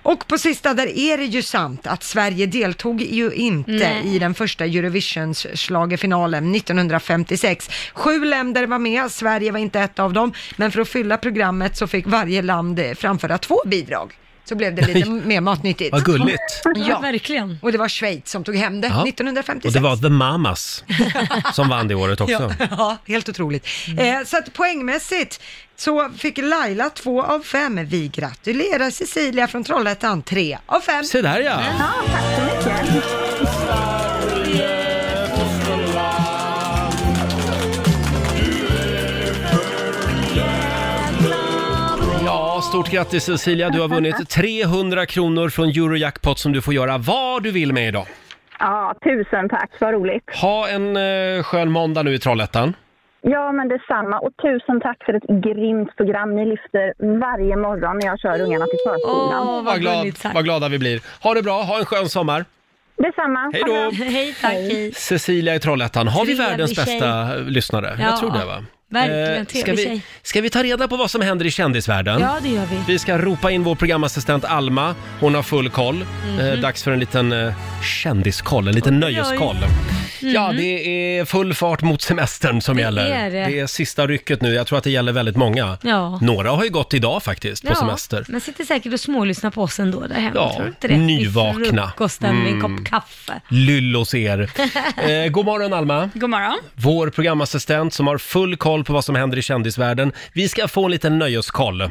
Speaker 7: Och på sista där är det ju sant att Sverige deltog ju inte
Speaker 3: Nej.
Speaker 7: i den första Eurovisionsschlagerfinalen 1956. Sju länder var med, Sverige var inte ett av dem, men för att fylla programmet så fick varje land eh, framföra två bidrag. Så blev
Speaker 1: <laughs>
Speaker 7: det lite mer matnyttigt.
Speaker 1: Vad gulligt.
Speaker 7: Ja,
Speaker 3: verkligen.
Speaker 7: Och det var Schweiz som tog hem det
Speaker 1: Ja.
Speaker 7: 1956.
Speaker 1: Och det var The Mamas som vann det <laughs> året också.
Speaker 7: Ja, <laughs> ja helt otroligt.
Speaker 1: Mm.
Speaker 7: Eh, så att poängmässigt så fick Laila två av fem. Vi gratulerar Cecilia från Trollhättan tre av fem.
Speaker 1: Se där ja. Ja, stort grattis Cecilia. Du har vunnit 300 kronor från Eurojackpot som du får göra vad du vill med idag.
Speaker 10: Ja, tusen tack. Vad roligt.
Speaker 1: Ha en eh, skön måndag nu i Trollhättan.
Speaker 10: Ja, men detsamma. Och tusen tack för ett grymt program ni lyfter varje morgon när jag kör ungarna till förskolan.
Speaker 1: Åh, vad, glad, vad glada vi blir. Ha det bra, ha en skön sommar.
Speaker 10: Detsamma.
Speaker 1: Hej då.
Speaker 10: Ha det bra.
Speaker 3: Hej, tack. Hej.
Speaker 1: Cecilia i Trollhättan, har vi
Speaker 3: Trevlig
Speaker 1: världens
Speaker 3: tjej.
Speaker 1: bästa eh, lyssnare?
Speaker 3: Ja,
Speaker 1: Jag tror det va?
Speaker 3: verkligen.
Speaker 1: Eh, ska,
Speaker 3: Trevlig
Speaker 1: vi,
Speaker 3: tjej.
Speaker 1: ska vi ta reda på vad som händer i kändisvärlden?
Speaker 3: Ja, det gör vi.
Speaker 1: Vi ska ropa in vår programassistent Alma. Hon har full koll.
Speaker 3: Mhm.
Speaker 1: Eh, dags för en liten eh, kändiskoll, en liten
Speaker 5: oj.
Speaker 1: nöjeskoll. Ja, det är full fart mot semestern som gäller.
Speaker 3: är Mhm. det.
Speaker 1: är sista rycket nu. Jag tror att det gäller väldigt många.
Speaker 3: Ja.
Speaker 1: Några har ju gått idag faktiskt, på
Speaker 3: ja,
Speaker 1: semester.
Speaker 3: Men sitter säkert och smålyssnar på oss ändå där hemma.
Speaker 1: Ja,
Speaker 3: tror du inte det?
Speaker 1: nyvakna.
Speaker 3: Vid frukosten med en
Speaker 1: Mm.
Speaker 3: kopp kaffe. <laughs>
Speaker 1: Lyllos er. Eh, god morgon Alma.
Speaker 6: God morgon.
Speaker 1: Vår programassistent som har full koll på vad som händer i kändisvärlden. Vi ska få en liten nöjeskoll.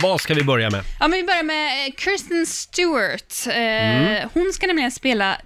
Speaker 1: Vad ska vi börja med?
Speaker 6: Ja, men vi börjar med eh, Kirsten Stewart. Eh,
Speaker 1: Mm.
Speaker 6: Hon ska nämligen spela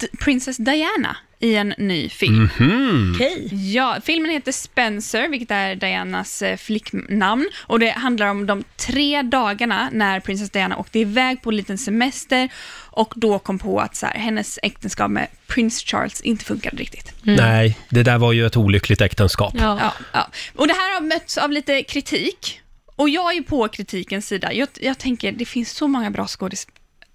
Speaker 6: D- Princess Diana i en ny film.
Speaker 5: Mhm.
Speaker 6: Ja, filmen heter Spencer, vilket är Dianas eh, flicknamn. Och det handlar om de tre dagarna när prinsess Diana åkte iväg på en liten semester och då kom på att så här, hennes äktenskap med prins Charles inte funkade riktigt.
Speaker 1: Nej, det där var ju ett olyckligt äktenskap.
Speaker 6: Mm. Ja. Ja, Och det här har mötts av lite kritik. Och jag är ju på kritikens sida. Jag, jag tänker, det finns så många bra skådis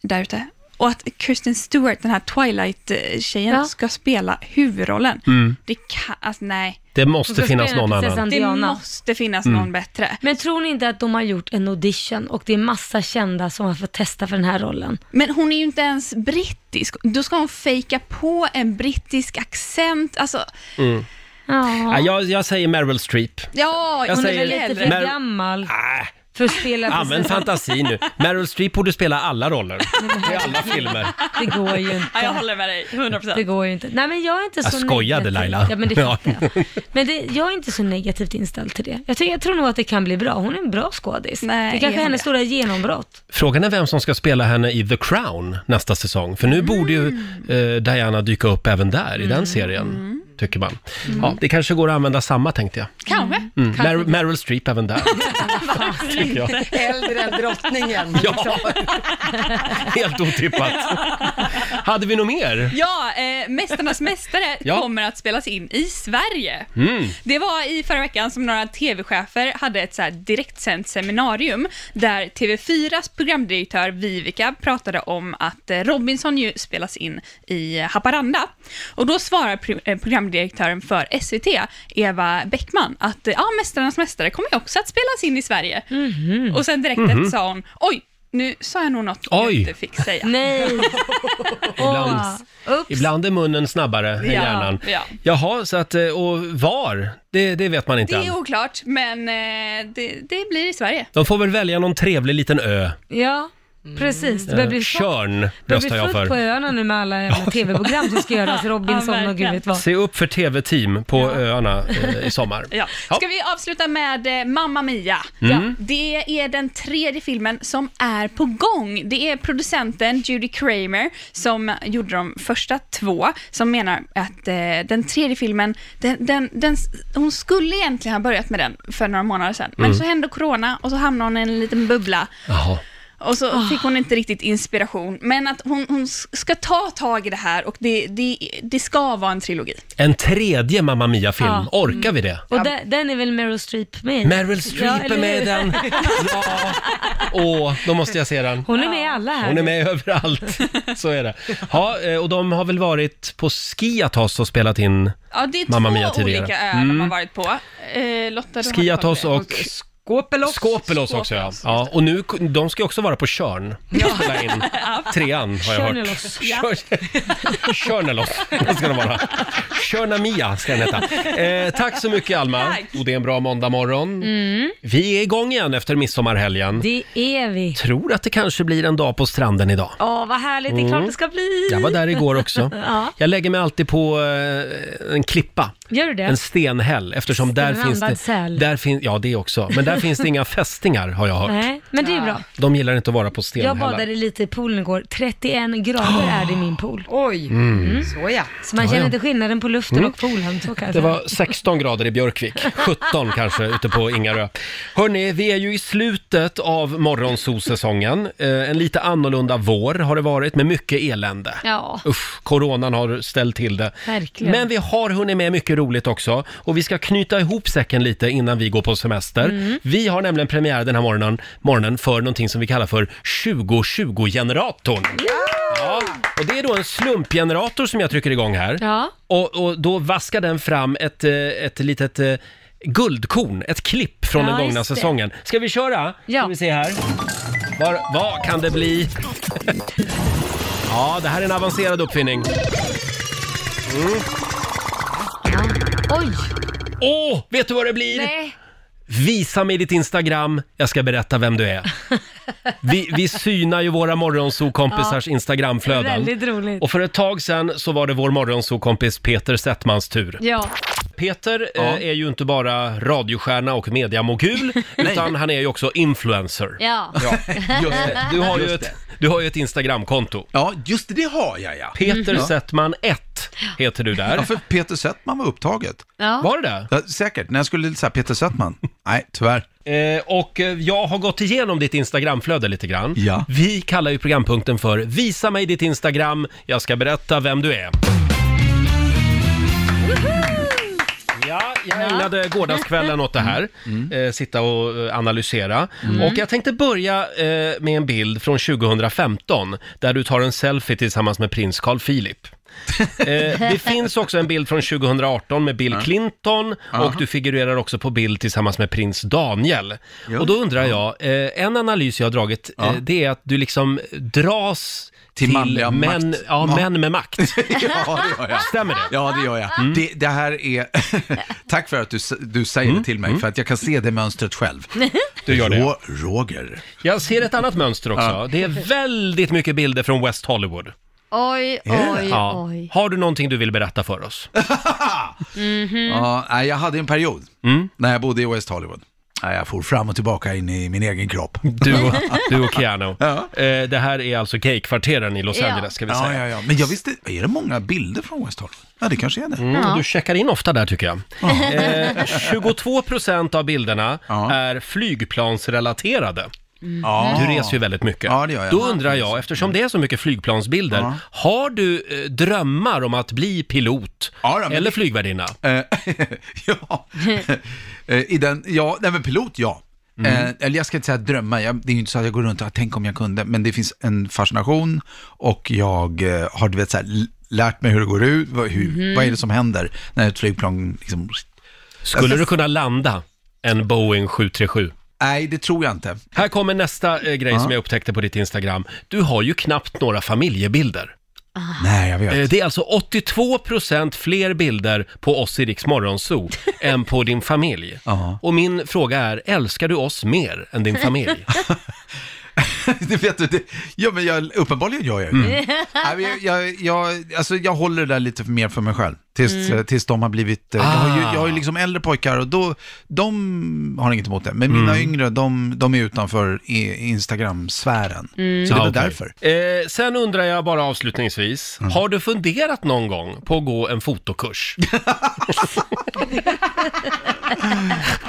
Speaker 6: där ute. Och att Kirsten Stewart, den här Twilight-tjejen,
Speaker 3: Ja.
Speaker 6: ska spela huvudrollen.
Speaker 1: Mm.
Speaker 6: Det kan, alltså nej.
Speaker 1: Det måste Hon ska finnas spela någon prinsessan annan.
Speaker 6: Det
Speaker 3: Diana.
Speaker 6: måste finnas
Speaker 1: Mm.
Speaker 6: någon bättre.
Speaker 3: Men tror ni inte att de har gjort en audition och det är massa kända som har fått testa för den här rollen?
Speaker 6: Men hon är ju inte ens brittisk. Då ska hon fejka på en brittisk accent. Alltså,
Speaker 1: Mm. Ja,
Speaker 3: ja.
Speaker 1: jag, jag säger Meryl Streep.
Speaker 6: Ja,
Speaker 1: Jag
Speaker 3: hon
Speaker 1: säger-
Speaker 3: är väl lite för
Speaker 1: Men-
Speaker 3: gammal för att spela
Speaker 1: Använd
Speaker 3: prinsessan.
Speaker 1: fantasi nu. Meryl Streep borde spela alla roller i alla filmer.
Speaker 3: Det går
Speaker 6: <laughs>
Speaker 3: ju inte.
Speaker 6: jag håller med dig, 100%.
Speaker 3: Det går ju inte. Nej men jag är inte
Speaker 1: Jag
Speaker 3: så
Speaker 1: skojade
Speaker 3: negativ.
Speaker 1: Laila.
Speaker 3: Ja, men det
Speaker 1: Ja.
Speaker 3: Men det, jag är inte så negativt inställd till det. Jag, tycker, jag tror nog att det kan bli bra. Hon är en bra skådis.
Speaker 6: Nej,
Speaker 3: det kanske
Speaker 6: är
Speaker 3: är
Speaker 6: hon
Speaker 3: hennes
Speaker 6: det?
Speaker 3: stora genombrott.
Speaker 1: Frågan är vem som ska spela henne i The Crown nästa säsong. För nu
Speaker 6: Mm.
Speaker 1: borde ju eh, Diana dyka upp även där, i den serien, tycker man. Ja, det kanske går att använda samma, tänkte jag.
Speaker 6: Mm. Kanske.
Speaker 1: Mm. Mer- Meryl Streep
Speaker 6: <laughs>
Speaker 1: även där. tycker jag.
Speaker 7: Äldre än drottningen.
Speaker 1: <laughs> Ja. Helt otippat. Hade vi något mer?
Speaker 6: Ja, eh, Mästarnas mästare
Speaker 1: <laughs> Ja.
Speaker 6: kommer att spelas in i Sverige.
Speaker 1: Mm.
Speaker 6: Det var i förra veckan som några tv-chefer hade ett så här direktsänt seminarium där TV4s programdirektör Vivica pratade om att eh, Robinson ju spelas in i Haparanda. Och då svarar pro- eh, programdirektören för SVT, Eva Bäckman, att eh, ja, Mästarnas mästare kommer ju också att spelas in i Sverige. Och sen direkt
Speaker 1: Mhm.
Speaker 6: sa hon, oj, nu sa jag nog något jag
Speaker 1: Oj.
Speaker 6: inte fick
Speaker 3: <laughs>
Speaker 6: säga.
Speaker 3: Nej.
Speaker 1: <laughs> Ibland, ibland är munnen snabbare än
Speaker 6: Ja,
Speaker 1: hjärnan.
Speaker 6: ja.
Speaker 1: Jaha, så att, eh, och var? Det, det vet man inte
Speaker 6: Det är
Speaker 1: än.
Speaker 6: oklart, men eh, det, det blir i Sverige.
Speaker 1: De får väl välja någon trevlig liten ö.
Speaker 3: Ja. Precis, det börjar bli
Speaker 1: Körn
Speaker 3: Det blir
Speaker 1: Mm. röstar jag
Speaker 3: fullt på
Speaker 1: för.
Speaker 3: öarna nu med alla
Speaker 1: <laughs>
Speaker 3: jävla tv-program som ska
Speaker 6: <laughs>
Speaker 3: göras, Robinson och gud vet vad.
Speaker 1: Se upp för tv-team på öarna eh, i sommar.
Speaker 6: <laughs> Ja. Ska vi avsluta med eh, Mamma Mia?
Speaker 1: Mm.
Speaker 6: Ja. Det är den tredje filmen som är på gång. Det är producenten Judy Kramer som gjorde de första två, som menar att eh, den tredje filmen, den, den, den, hon skulle egentligen ha börjat med den för några månader sedan, men
Speaker 1: Mm.
Speaker 6: så hände corona och så hamnade hon i en liten bubbla.
Speaker 1: Jaha.
Speaker 6: Och så fick hon inte riktigt inspiration, men att hon, hon ska ta tag i det här och det, det, det ska vara en trilogi.
Speaker 1: En tredje Mamma Mia-film,
Speaker 6: Ja. Mm.
Speaker 1: orkar vi det?
Speaker 3: Och den, den är väl Meryl Streep med i?
Speaker 1: Meryl Streep är
Speaker 3: eller
Speaker 1: med i
Speaker 3: hur?
Speaker 1: den. Åh, då måste jag se den.
Speaker 3: Hon är med i alla här.
Speaker 1: Hon är
Speaker 6: <laughs>
Speaker 1: med överallt, så är det. Ja, eh, och de har väl varit på Skiatos och spelat in
Speaker 6: Ja, det är
Speaker 1: Mamma
Speaker 6: två
Speaker 1: Mia tidigare.
Speaker 6: olika öar de har
Speaker 1: Mm.
Speaker 6: varit på. Eh, Lotta, du har
Speaker 1: Skiatos
Speaker 6: koll på
Speaker 1: och...
Speaker 6: det.
Speaker 1: Skåpelos. Skåpelos också ja. ja. Och nu, de ska också vara på Körn. Spela in.
Speaker 3: <laughs>
Speaker 1: Trean har jag hört.
Speaker 3: Körnelos.
Speaker 1: <laughs> Körnelos vad ska de vara. Körnamia ska den heta. Eh, tack så mycket Alma. Och det är en bra måndagmorgon.
Speaker 3: Mm.
Speaker 1: Vi är igång igen efter midsommarhelgen.
Speaker 3: Det är vi.
Speaker 1: Tror att det kanske blir en dag på stranden idag.
Speaker 3: Åh, vad härligt. Det är klart
Speaker 1: Mm.
Speaker 3: det ska bli.
Speaker 1: Jag var där igår också.
Speaker 3: <laughs> ja.
Speaker 1: Jag lägger mig alltid på eh, en klippa.
Speaker 3: Gör du det?
Speaker 1: En stenhäll, eftersom där
Speaker 3: Strandad
Speaker 1: finns det...
Speaker 3: säl.
Speaker 1: Där fin, ja, det också. Men där finns det inga <laughs> fästingar, har jag hört.
Speaker 3: Nej, men det är bra.
Speaker 1: De gillar inte att vara på
Speaker 3: Jag
Speaker 1: stenhällar.
Speaker 3: badade lite i poolen igår. 31 grader är det i min pool.
Speaker 7: Oj,
Speaker 1: Mm.
Speaker 7: så ja.
Speaker 3: Så man
Speaker 1: Ja,
Speaker 3: känner
Speaker 1: ja.
Speaker 3: inte skillnaden på luften
Speaker 1: Mm.
Speaker 3: och poolen. Så kanske.
Speaker 1: Det var 16 grader i Björkvik,
Speaker 3: <laughs>
Speaker 1: 17 kanske ute på Ingarö. Hörni, vi är ju i slutet av morgonsolsäsongen. Eh, en lite annorlunda vår har det varit med mycket elände.
Speaker 3: Ja.
Speaker 1: Usch, coronan har ställt till det.
Speaker 3: Verkligen.
Speaker 1: Men vi har hunnit med mycket roligt också och vi ska knyta ihop säcken lite innan vi går på semester.
Speaker 11: Mm.
Speaker 1: Vi har nämligen premiär den här morgonen, morgonen för någonting som vi kallar för 2020-generatorn. Ja, och det är då en slumpgenerator som jag trycker igång här.
Speaker 3: Ja.
Speaker 1: Och, och då vaskar den fram ett, eh, ett litet eh, guldkorn, ett klipp från
Speaker 11: Ja,
Speaker 1: den gångna
Speaker 11: just det.
Speaker 1: säsongen. Ska vi köra? Ja. Ska vi se här. Var, vad kan det bli? <laughs> ja, det här är en avancerad uppfinning. Mm.
Speaker 3: Oj!
Speaker 1: Åh, vet du vad det blir?
Speaker 3: Nej.
Speaker 1: Visa mig ditt Instagram, jag ska berätta vem du är. Vi, vi synar ju våra morgonsokompisars
Speaker 3: Ja.
Speaker 1: Instagramflöden.
Speaker 3: Väldigt roligt.
Speaker 1: Och för ett tag sedan så var det vår morgonsokompis Peter Settmans tur.
Speaker 3: Ja.
Speaker 1: Peter eh, är ju inte bara radiostjärna och mediamogul, utan han är ju också influencer.
Speaker 3: Ja.
Speaker 1: Just det. Du har ju ett, du har ju ett Instagramkonto.
Speaker 12: Ja, just det, det har jag ja.
Speaker 1: Peter
Speaker 12: Ja.
Speaker 1: Settman 1 heter du där.
Speaker 12: Ja, för Peter Settman var upptaget.
Speaker 3: Ja.
Speaker 1: Var det det?
Speaker 12: Ja, säkert, när jag skulle säga Peter Settman. Nej, tyvärr.
Speaker 1: Eh, och eh, jag har gått igenom ditt Instagramflöde lite grann. Vi kallar ju programpunkten för “Visa mig ditt Instagram, jag ska berätta vem du är”. Ja, jag ägnade gårdagskvällen åt det här, eh, sitta och eh, analysera. Och jag tänkte börja eh, med en bild från 2015, där du tar en selfie tillsammans med prins Carl Philip. eh, det finns också en bild från 2018 med Bill Clinton och
Speaker 12: Aha.
Speaker 1: du figurerar också på bild tillsammans med prins Daniel. Och då undrar jag, eh, en analys jag har dragit, eh, det är att du liksom dras till,
Speaker 12: manliga
Speaker 1: män,
Speaker 12: makt.
Speaker 1: ja,
Speaker 12: Ja.
Speaker 1: män med
Speaker 12: <laughs>
Speaker 1: makt.
Speaker 12: <laughs> Ja, det gör jag.
Speaker 1: Stämmer det?
Speaker 12: Ja, det gör jag. Mm. Det, det här är... <laughs> Tack för att du, s- du säger det till mig, för att jag kan se det mönstret själv.
Speaker 1: Du gör det.
Speaker 12: Rå, Roger.
Speaker 1: Jag ser ett annat mönster också.
Speaker 12: Ja.
Speaker 1: Det är väldigt mycket bilder från West Hollywood.
Speaker 13: Oj, oj, oj.
Speaker 1: Har du någonting du vill berätta för oss?
Speaker 13: Mhm.
Speaker 1: Mm.
Speaker 12: Ja, nej, jag hade en period när jag bodde i West Hollywood. Nej, jag for fram och tillbaka in i min egen
Speaker 1: <laughs>
Speaker 12: kropp.
Speaker 1: Du,
Speaker 12: <laughs>
Speaker 1: och- du och Keanu. Eh, Det här är alltså gaykvarteren i Los
Speaker 12: Ja.
Speaker 1: Angeles, ska vi
Speaker 12: Ja,
Speaker 1: säga.
Speaker 12: ja, ja. Men jag visste, är det många bilder från West Hollywood? Ja, det kanske är det.
Speaker 1: Mm, och Du checkar in ofta där tycker jag. Eh, 22 procent av bilderna är flygplansrelaterade.
Speaker 12: Ja.
Speaker 1: Du reser ju väldigt mycket.
Speaker 12: Ja, det gör jag.
Speaker 1: Då undrar jag, eftersom det är så mycket flygplansbilder, har du eh, drömmar om att bli pilot eller flygvärdinna?
Speaker 12: <laughs>
Speaker 1: <laughs>
Speaker 12: Eh, I den, ja, nej men pilot, ja.
Speaker 1: Mm.
Speaker 12: Eh, eller jag ska inte säga drömma, jag, det är ju inte så att jag går runt och tänker om jag kunde, men det finns en fascination och jag eh, har du vet, så här, l- lärt mig hur det går ut, vad, hur,
Speaker 1: Mhm.
Speaker 12: vad är det som händer när ett flygplan liksom...
Speaker 1: Skulle du kunna landa en Boeing 737?
Speaker 12: Nej, det tror jag inte.
Speaker 1: Här kommer nästa eh, grej som jag upptäckte på ditt Instagram. Du har ju knappt några familjebilder.
Speaker 12: Nej, jag vet.
Speaker 1: Eh, Det är alltså 82% fler bilder på oss i Riks
Speaker 12: <laughs>
Speaker 1: Morgonzoo än på din
Speaker 12: <laughs> Mm.
Speaker 1: familj. Och min fråga är, älskar du oss mer än din familj?
Speaker 12: det vet du, det, ja, men jag, uppenbarligen gör jag ju det. <laughs> Nej, men jag, jag, jag, alltså, jag håller det där lite mer för mig själv, tills,
Speaker 11: Mm.
Speaker 12: eh, tills de har blivit... eh, Jag, har ju,
Speaker 11: Ah.
Speaker 12: jag har ju liksom äldre pojkar och då, de har inget emot det. Men mina yngre, de, de är utanför i- Instagram-sfären.
Speaker 1: Mm.
Speaker 12: Så det är
Speaker 1: Ja,
Speaker 12: väl
Speaker 1: okej.
Speaker 12: därför.
Speaker 1: Eh, sen undrar jag bara avslutningsvis,
Speaker 12: Mm.
Speaker 1: har du funderat någon gång på att gå en
Speaker 12: <laughs>
Speaker 1: fotokurs?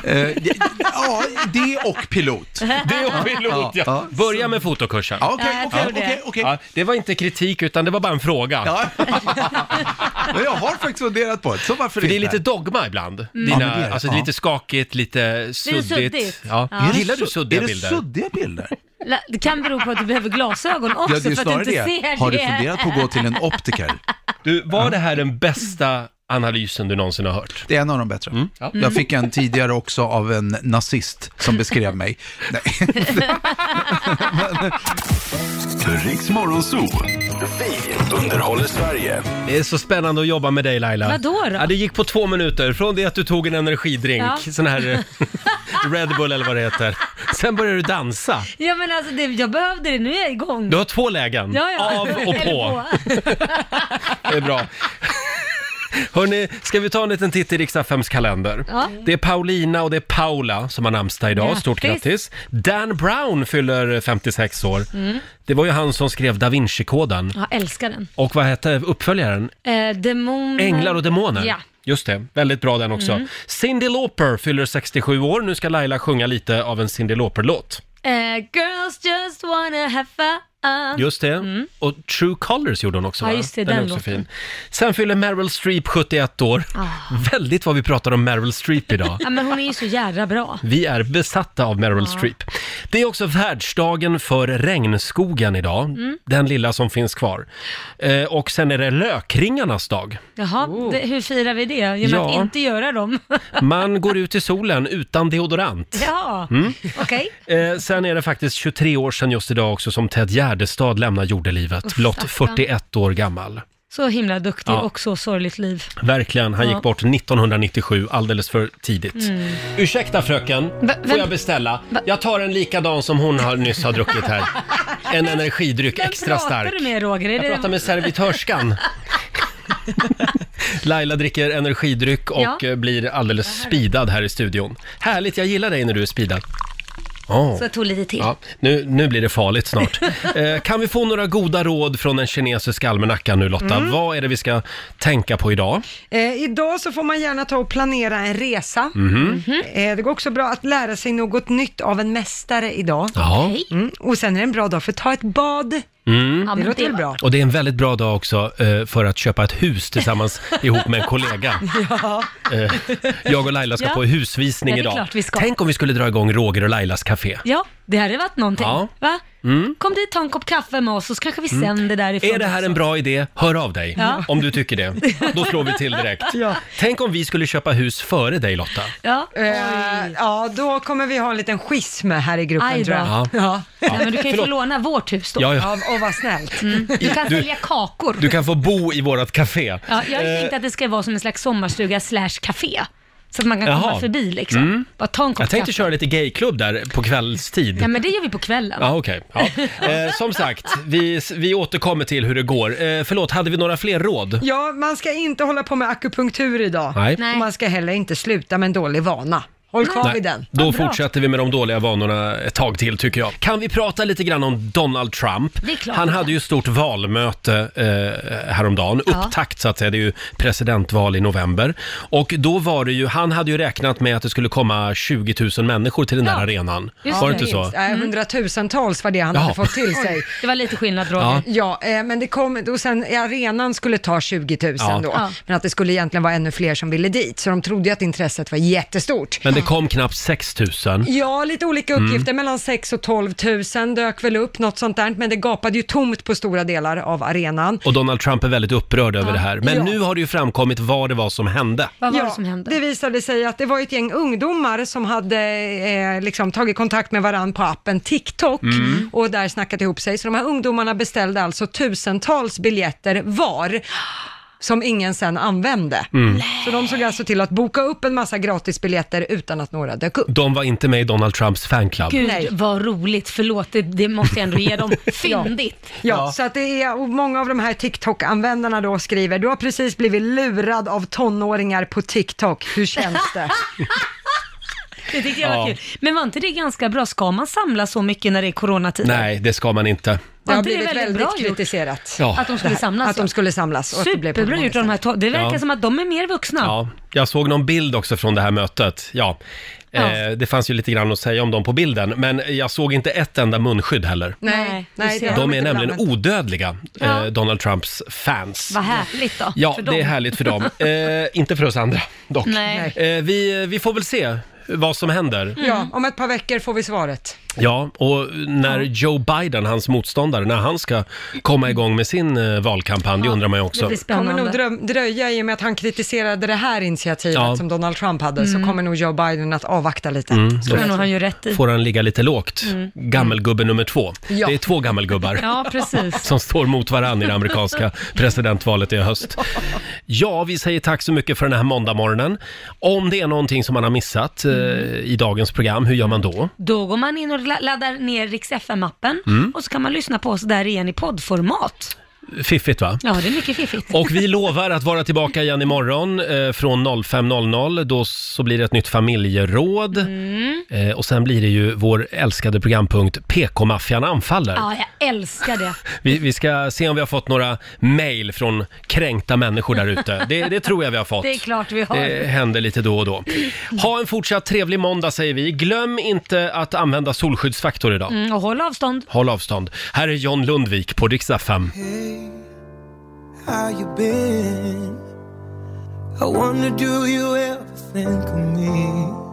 Speaker 12: Eh, ja, det och pilot.
Speaker 1: Det och pilot, ja. Börja med fotokursen.
Speaker 12: Ja, okej, Ja, jag okej, tror det. okej,
Speaker 1: Ja, det var inte kritik, utan det var bara en fråga.
Speaker 12: Men jag har faktiskt funderat på det, så varför
Speaker 1: För det är
Speaker 12: inte?
Speaker 1: lite dogma ibland.
Speaker 12: Mm.
Speaker 1: Dina,
Speaker 12: Ja, men det är det.
Speaker 1: alltså det är
Speaker 12: Ja.
Speaker 1: lite skakigt, lite suddigt.
Speaker 3: suddigt.
Speaker 1: Ja.
Speaker 3: Ja. Är det
Speaker 1: Gillar du
Speaker 3: su-
Speaker 1: suddiga
Speaker 3: är det
Speaker 1: bilder?
Speaker 12: suddiga bilder?
Speaker 3: La- Det kan bero på att du behöver glasögon också Alltså, för att du inte ser det.
Speaker 12: optiker?
Speaker 1: Du, var det här den bästa analysen du någonsin har hört?
Speaker 12: Det är en av de bättre.
Speaker 1: Ja.
Speaker 12: Jag fick en tidigare också av en nazist som beskrev mig. Nej.
Speaker 4: Riks Morgonzoo. Vi underhåller Sverige.
Speaker 1: Det är så spännande att jobba med dig Laila.
Speaker 3: Vadå då?
Speaker 1: Ja, det gick på två minuter, från det att du tog en energidrink,
Speaker 3: Ja.
Speaker 1: sån här eh, <laughs> Red Bull eller vad det heter. Sen började du dansa.
Speaker 3: Ja men alltså det, jag behövde det, nu är jag igång.
Speaker 1: Du har två lägen,
Speaker 3: Ja, ja.
Speaker 1: av och
Speaker 3: Eller
Speaker 1: på. Det är bra. Hörni, ska vi ta en liten titt i riksdagsfems kalender?
Speaker 3: Ja.
Speaker 1: Det är Paulina och det är Paula som har namnsdag idag. Stort
Speaker 3: Grattis.
Speaker 1: grattis! Dan Brown fyller 56 år.
Speaker 3: Mm.
Speaker 1: Det var ju han som skrev Da Vinci-koden.
Speaker 3: Jag älskar den.
Speaker 1: Och vad hette uppföljaren?
Speaker 3: Eh, demon...
Speaker 1: Änglar och demoner.
Speaker 3: Ja.
Speaker 1: Just det, väldigt bra den också.
Speaker 3: Mm.
Speaker 1: Cyndi Lauper fyller 67 år. Nu ska Laila sjunga lite av en Cyndi Lauper-låt.
Speaker 3: Eh, girls just wanna have fun.
Speaker 1: Just det.
Speaker 3: Mm.
Speaker 1: Och True Colors gjorde hon också.
Speaker 3: Ja,
Speaker 1: va?
Speaker 3: just det,
Speaker 1: den är
Speaker 3: den
Speaker 1: också
Speaker 3: låten.
Speaker 1: fin. Sen fyller Meryl Streep 71 år.
Speaker 3: Ah.
Speaker 1: Väldigt vad vi pratar om Meryl
Speaker 3: <laughs>
Speaker 1: Streep idag.
Speaker 3: Ja men hon är ju så jädra bra.
Speaker 1: Vi är besatta av
Speaker 3: Ah.
Speaker 1: Meryl Streep. Det är också världsdagen för regnskogen idag.
Speaker 3: Mm.
Speaker 1: Den lilla som finns kvar. Eh, och sen är det lökringarnas dag.
Speaker 3: Jaha, det, hur firar vi det? Genom
Speaker 1: Oh. Ja.
Speaker 3: att inte göra dem?
Speaker 1: Man går ut i solen utan deodorant.
Speaker 3: ja,
Speaker 1: Mm.
Speaker 3: okej.
Speaker 1: Eh, sen är det faktiskt 23 år sedan just idag också som Ted Gärdestad lämnar jordelivet,
Speaker 3: Uff,
Speaker 1: blott
Speaker 3: stackarn.
Speaker 1: 41 år gammal.
Speaker 3: Så himla duktig
Speaker 1: Ja.
Speaker 3: och så sorgligt liv.
Speaker 1: Verkligen, han
Speaker 3: Ja.
Speaker 1: gick bort 1997, alldeles för tidigt.
Speaker 3: Mm.
Speaker 1: Ursäkta fröken, får
Speaker 3: vem-
Speaker 1: jag beställa? Jag tar en likadan som hon har nyss har
Speaker 3: <laughs>
Speaker 1: druckit här. En energidryck, extra
Speaker 3: Pratar
Speaker 1: stark.
Speaker 3: du med Roger? Är
Speaker 1: Jag
Speaker 3: det-
Speaker 1: pratar
Speaker 3: <laughs>
Speaker 1: med servitörskan. Laila dricker energidryck och
Speaker 3: Ja.
Speaker 1: eh, blir alldeles speedad här i studion. Härligt, jag gillar dig när du är speedad. Åh.
Speaker 3: Så jag tog lite till.
Speaker 1: Ja, nu, nu blir det
Speaker 3: <laughs>
Speaker 1: farligt snart. Eh, kan vi få några goda råd från den kinesiska almanackan nu Lotta?
Speaker 7: Mm.
Speaker 1: Vad är det vi ska tänka på idag?
Speaker 7: Eh, idag så får man gärna ta och planera en resa.
Speaker 1: Mhm.
Speaker 7: Eh, det går också bra att lära sig något nytt av en mästare idag.
Speaker 1: Ja. Okej.
Speaker 7: Mm, och sen är det en bra dag för att ta ett bad.
Speaker 1: Mm.
Speaker 7: Ja, men låter det- väl bra.
Speaker 1: Och det är en väldigt bra dag också eh, för att köpa ett
Speaker 3: <laughs>
Speaker 1: hus tillsammans ihop med en kollega.
Speaker 7: ja.
Speaker 1: Eh, jag och Laila ska
Speaker 3: Ja.
Speaker 1: på husvisning
Speaker 3: Ja, det är
Speaker 1: idag.
Speaker 3: klart vi ska.
Speaker 1: Tänk om vi skulle dra igång Roger och Lailas café.
Speaker 3: Ja, det hade varit någonting.
Speaker 1: Ja.
Speaker 3: Va?
Speaker 1: Mm.
Speaker 3: Kom dit, ta en kopp kaffe med oss och så kanske vi
Speaker 1: Mm.
Speaker 3: sänder därifrån.
Speaker 1: Är det här en bra idé? Hör av dig
Speaker 3: Ja.
Speaker 1: om du
Speaker 3: <laughs>
Speaker 1: tycker det. Då slår vi till direkt.
Speaker 7: Ja.
Speaker 1: Tänk om vi skulle köpa hus före dig Lotta.
Speaker 3: Ja.
Speaker 7: Eh, ja, då kommer vi ha en liten schism här i
Speaker 3: Aj
Speaker 7: gruppen
Speaker 3: då.
Speaker 7: tror jag.
Speaker 1: Ja. Ja.
Speaker 3: Nej, men du kan ju
Speaker 1: Förlåt.
Speaker 3: få låna vårt hus då.
Speaker 1: Ja, ja.
Speaker 7: och vad snällt.
Speaker 1: Mm.
Speaker 3: Du kan
Speaker 1: Du-
Speaker 3: sälja kakor.
Speaker 1: Du kan få bo i vårt café.
Speaker 3: Ja, jag har ju
Speaker 1: Eh,
Speaker 3: tänkt att det ska vara som en slags sommarstuga slash café. Så att man kan komma
Speaker 1: Jaha.
Speaker 3: förbi liksom.
Speaker 1: Mm.
Speaker 3: Bara ta en kopp
Speaker 1: Jag tänkte
Speaker 3: kaffe.
Speaker 1: köra lite gayklubb där på kvällstid.
Speaker 3: Ja, men det gör vi på kvällen.
Speaker 1: Ja, okej. Ja. Eh, som sagt, vi, vi återkommer till hur det går. Eh, förlåt, hade vi några fler råd?
Speaker 7: Ja, man ska inte hålla på med akupunktur idag.
Speaker 1: Nej.
Speaker 7: Och man ska heller inte sluta med en dålig vana. Håll kvar
Speaker 1: Nej,
Speaker 7: vid den.
Speaker 1: Då fortsätter vi med de dåliga vanorna ett tag till tycker jag. Kan vi prata lite grann om Donald Trump?
Speaker 3: Det är klart
Speaker 1: Han
Speaker 3: vi
Speaker 1: hade ju stort valmöte eh, häromdagen,
Speaker 3: Ja.
Speaker 1: upptakt så att säga, det är ju presidentval i november. Och då var det ju, han hade ju räknat med att det skulle komma 20 000 människor till den där arenan. var det inte så? Mm.
Speaker 7: minst. Nej, hundratusentals var det han
Speaker 1: Jaha.
Speaker 7: hade fått till sig.
Speaker 3: Det var lite skillnad
Speaker 1: Roger.
Speaker 7: Ja, eh, men det kom, och sen arenan skulle ta 20 000
Speaker 1: Ja.
Speaker 7: då,
Speaker 1: Ja.
Speaker 7: men att det skulle egentligen vara ännu fler som ville dit, så de trodde ju att intresset var jättestort.
Speaker 1: Men det kom knappt 6 000.
Speaker 7: Ja, lite olika
Speaker 1: Mm.
Speaker 7: uppgifter, mellan 6 000 och 12 000 dök väl upp, något sånt där, men det gapade ju tomt på stora delar av arenan.
Speaker 1: Och Donald Trump är väldigt upprörd över
Speaker 7: Ja.
Speaker 1: det här. Men
Speaker 7: Ja.
Speaker 1: nu har det ju framkommit vad det var som hände.
Speaker 7: ja, det Det visade sig att det var ett gäng ungdomar som hade eh, liksom tagit kontakt med varandra på appen TikTok
Speaker 1: Mm.
Speaker 7: och där snackat ihop sig. Så de här ungdomarna beställde alltså tusentals biljetter var. som ingen sen använde.
Speaker 1: Mm.
Speaker 7: Så de såg alltså till att boka upp en massa gratisbiljetter utan att några dök upp.
Speaker 1: De var inte med i Donald Trumps fanclub.
Speaker 3: Gud vad roligt, förlåt, det, det måste jag ändå
Speaker 7: <laughs>
Speaker 3: ge dem. Fyndigt.
Speaker 7: Ja, så att det är, och många av de här TikTok-användarna då skriver, du har precis blivit lurad av tonåringar på TikTok, hur känns
Speaker 3: <laughs>
Speaker 7: det?
Speaker 3: Det tyckte jag var
Speaker 1: Ja.
Speaker 3: kul. Men var inte det ganska bra? Ska man samla så mycket när det är coronatider?
Speaker 1: Nej, det ska man inte.
Speaker 7: Det
Speaker 3: Var
Speaker 7: har
Speaker 3: inte det
Speaker 7: blivit
Speaker 3: väldigt
Speaker 7: väldigt,
Speaker 3: bra gjort?
Speaker 7: kritiserat.
Speaker 1: Ja.
Speaker 3: Att de skulle
Speaker 7: Det här-
Speaker 3: samlas,
Speaker 7: Att
Speaker 3: ja.
Speaker 7: de skulle samlas. Och att det blev på
Speaker 3: Superbra
Speaker 7: många
Speaker 3: gjort av de här två. Det verkar
Speaker 1: Ja.
Speaker 3: som att de är mer vuxna.
Speaker 1: Ja, jag såg någon bild också från det här mötet. Ja.
Speaker 3: Ja.
Speaker 1: Eh, det fanns ju lite grann att säga om dem på bilden, men jag såg inte ett enda munskydd heller.
Speaker 3: Nej, nej, det har
Speaker 1: De
Speaker 3: de
Speaker 1: är
Speaker 3: inte
Speaker 1: nämligen
Speaker 3: blandat.
Speaker 1: odödliga,
Speaker 3: Ja.
Speaker 1: eh, Donald Trumps fans.
Speaker 3: Vad härligt då.
Speaker 1: Ja,
Speaker 3: för dem.
Speaker 1: det är
Speaker 3: <laughs>
Speaker 1: härligt för dem. Eh, inte för oss andra, dock.
Speaker 3: Nej.
Speaker 1: Eh, vi, vi får väl se vad som händer.
Speaker 7: Ja, om ett par veckor får vi svaret.
Speaker 1: Ja, och när Joe Biden, hans motståndare, när han ska komma igång med sin eh, valkampanj, det undrar man ju också.
Speaker 7: kommer nog dröm, dröja i och med att han kritiserade det här initiativet
Speaker 1: Ja.
Speaker 7: som Donald Trump hade,
Speaker 3: Mm.
Speaker 7: så kommer nog Joe Biden att avvakta lite.
Speaker 1: Mm,
Speaker 7: Så
Speaker 1: då
Speaker 7: jag tror-
Speaker 1: Får han ligga lite lågt.
Speaker 7: Mm.
Speaker 1: Gammelgubbe nummer två.
Speaker 7: Ja.
Speaker 1: Det är två gammelgubbar.
Speaker 3: Ja, precis.
Speaker 1: som står mot varandra i det amerikanska presidentvalet i höst. Ja, vi säger tack så mycket för den här måndagmorgonen. Om det är någonting som man har missat eh, i dagens program, hur gör man då?
Speaker 3: Då går man in och la- laddar ner Rix FM-appen
Speaker 1: Mm.
Speaker 3: och så kan man lyssna på oss där igen i poddformat.
Speaker 1: Fiffigt va?
Speaker 3: Ja, det är mycket fiffigt.
Speaker 1: Och vi lovar att vara tillbaka igen imorgon eh, från 05.00. Då så blir det ett nytt familjeråd. Eh, och sen blir det ju vår älskade programpunkt PK-maffian anfaller.
Speaker 3: Ja, jag älskar det.
Speaker 1: Vi, vi ska se om vi har fått några mejl från kränkta människor där ute. Det, det tror jag vi har fått.
Speaker 3: Det är klart vi har.
Speaker 1: Det händer lite då och då. Ha en fortsatt trevlig måndag säger vi. Glöm inte att använda solskyddsfaktor idag.
Speaker 3: Mm, och håll avstånd.
Speaker 1: Håll avstånd. Här är John Lundvik på Rix FM.
Speaker 11: How you been? I wonder, do you ever think of me?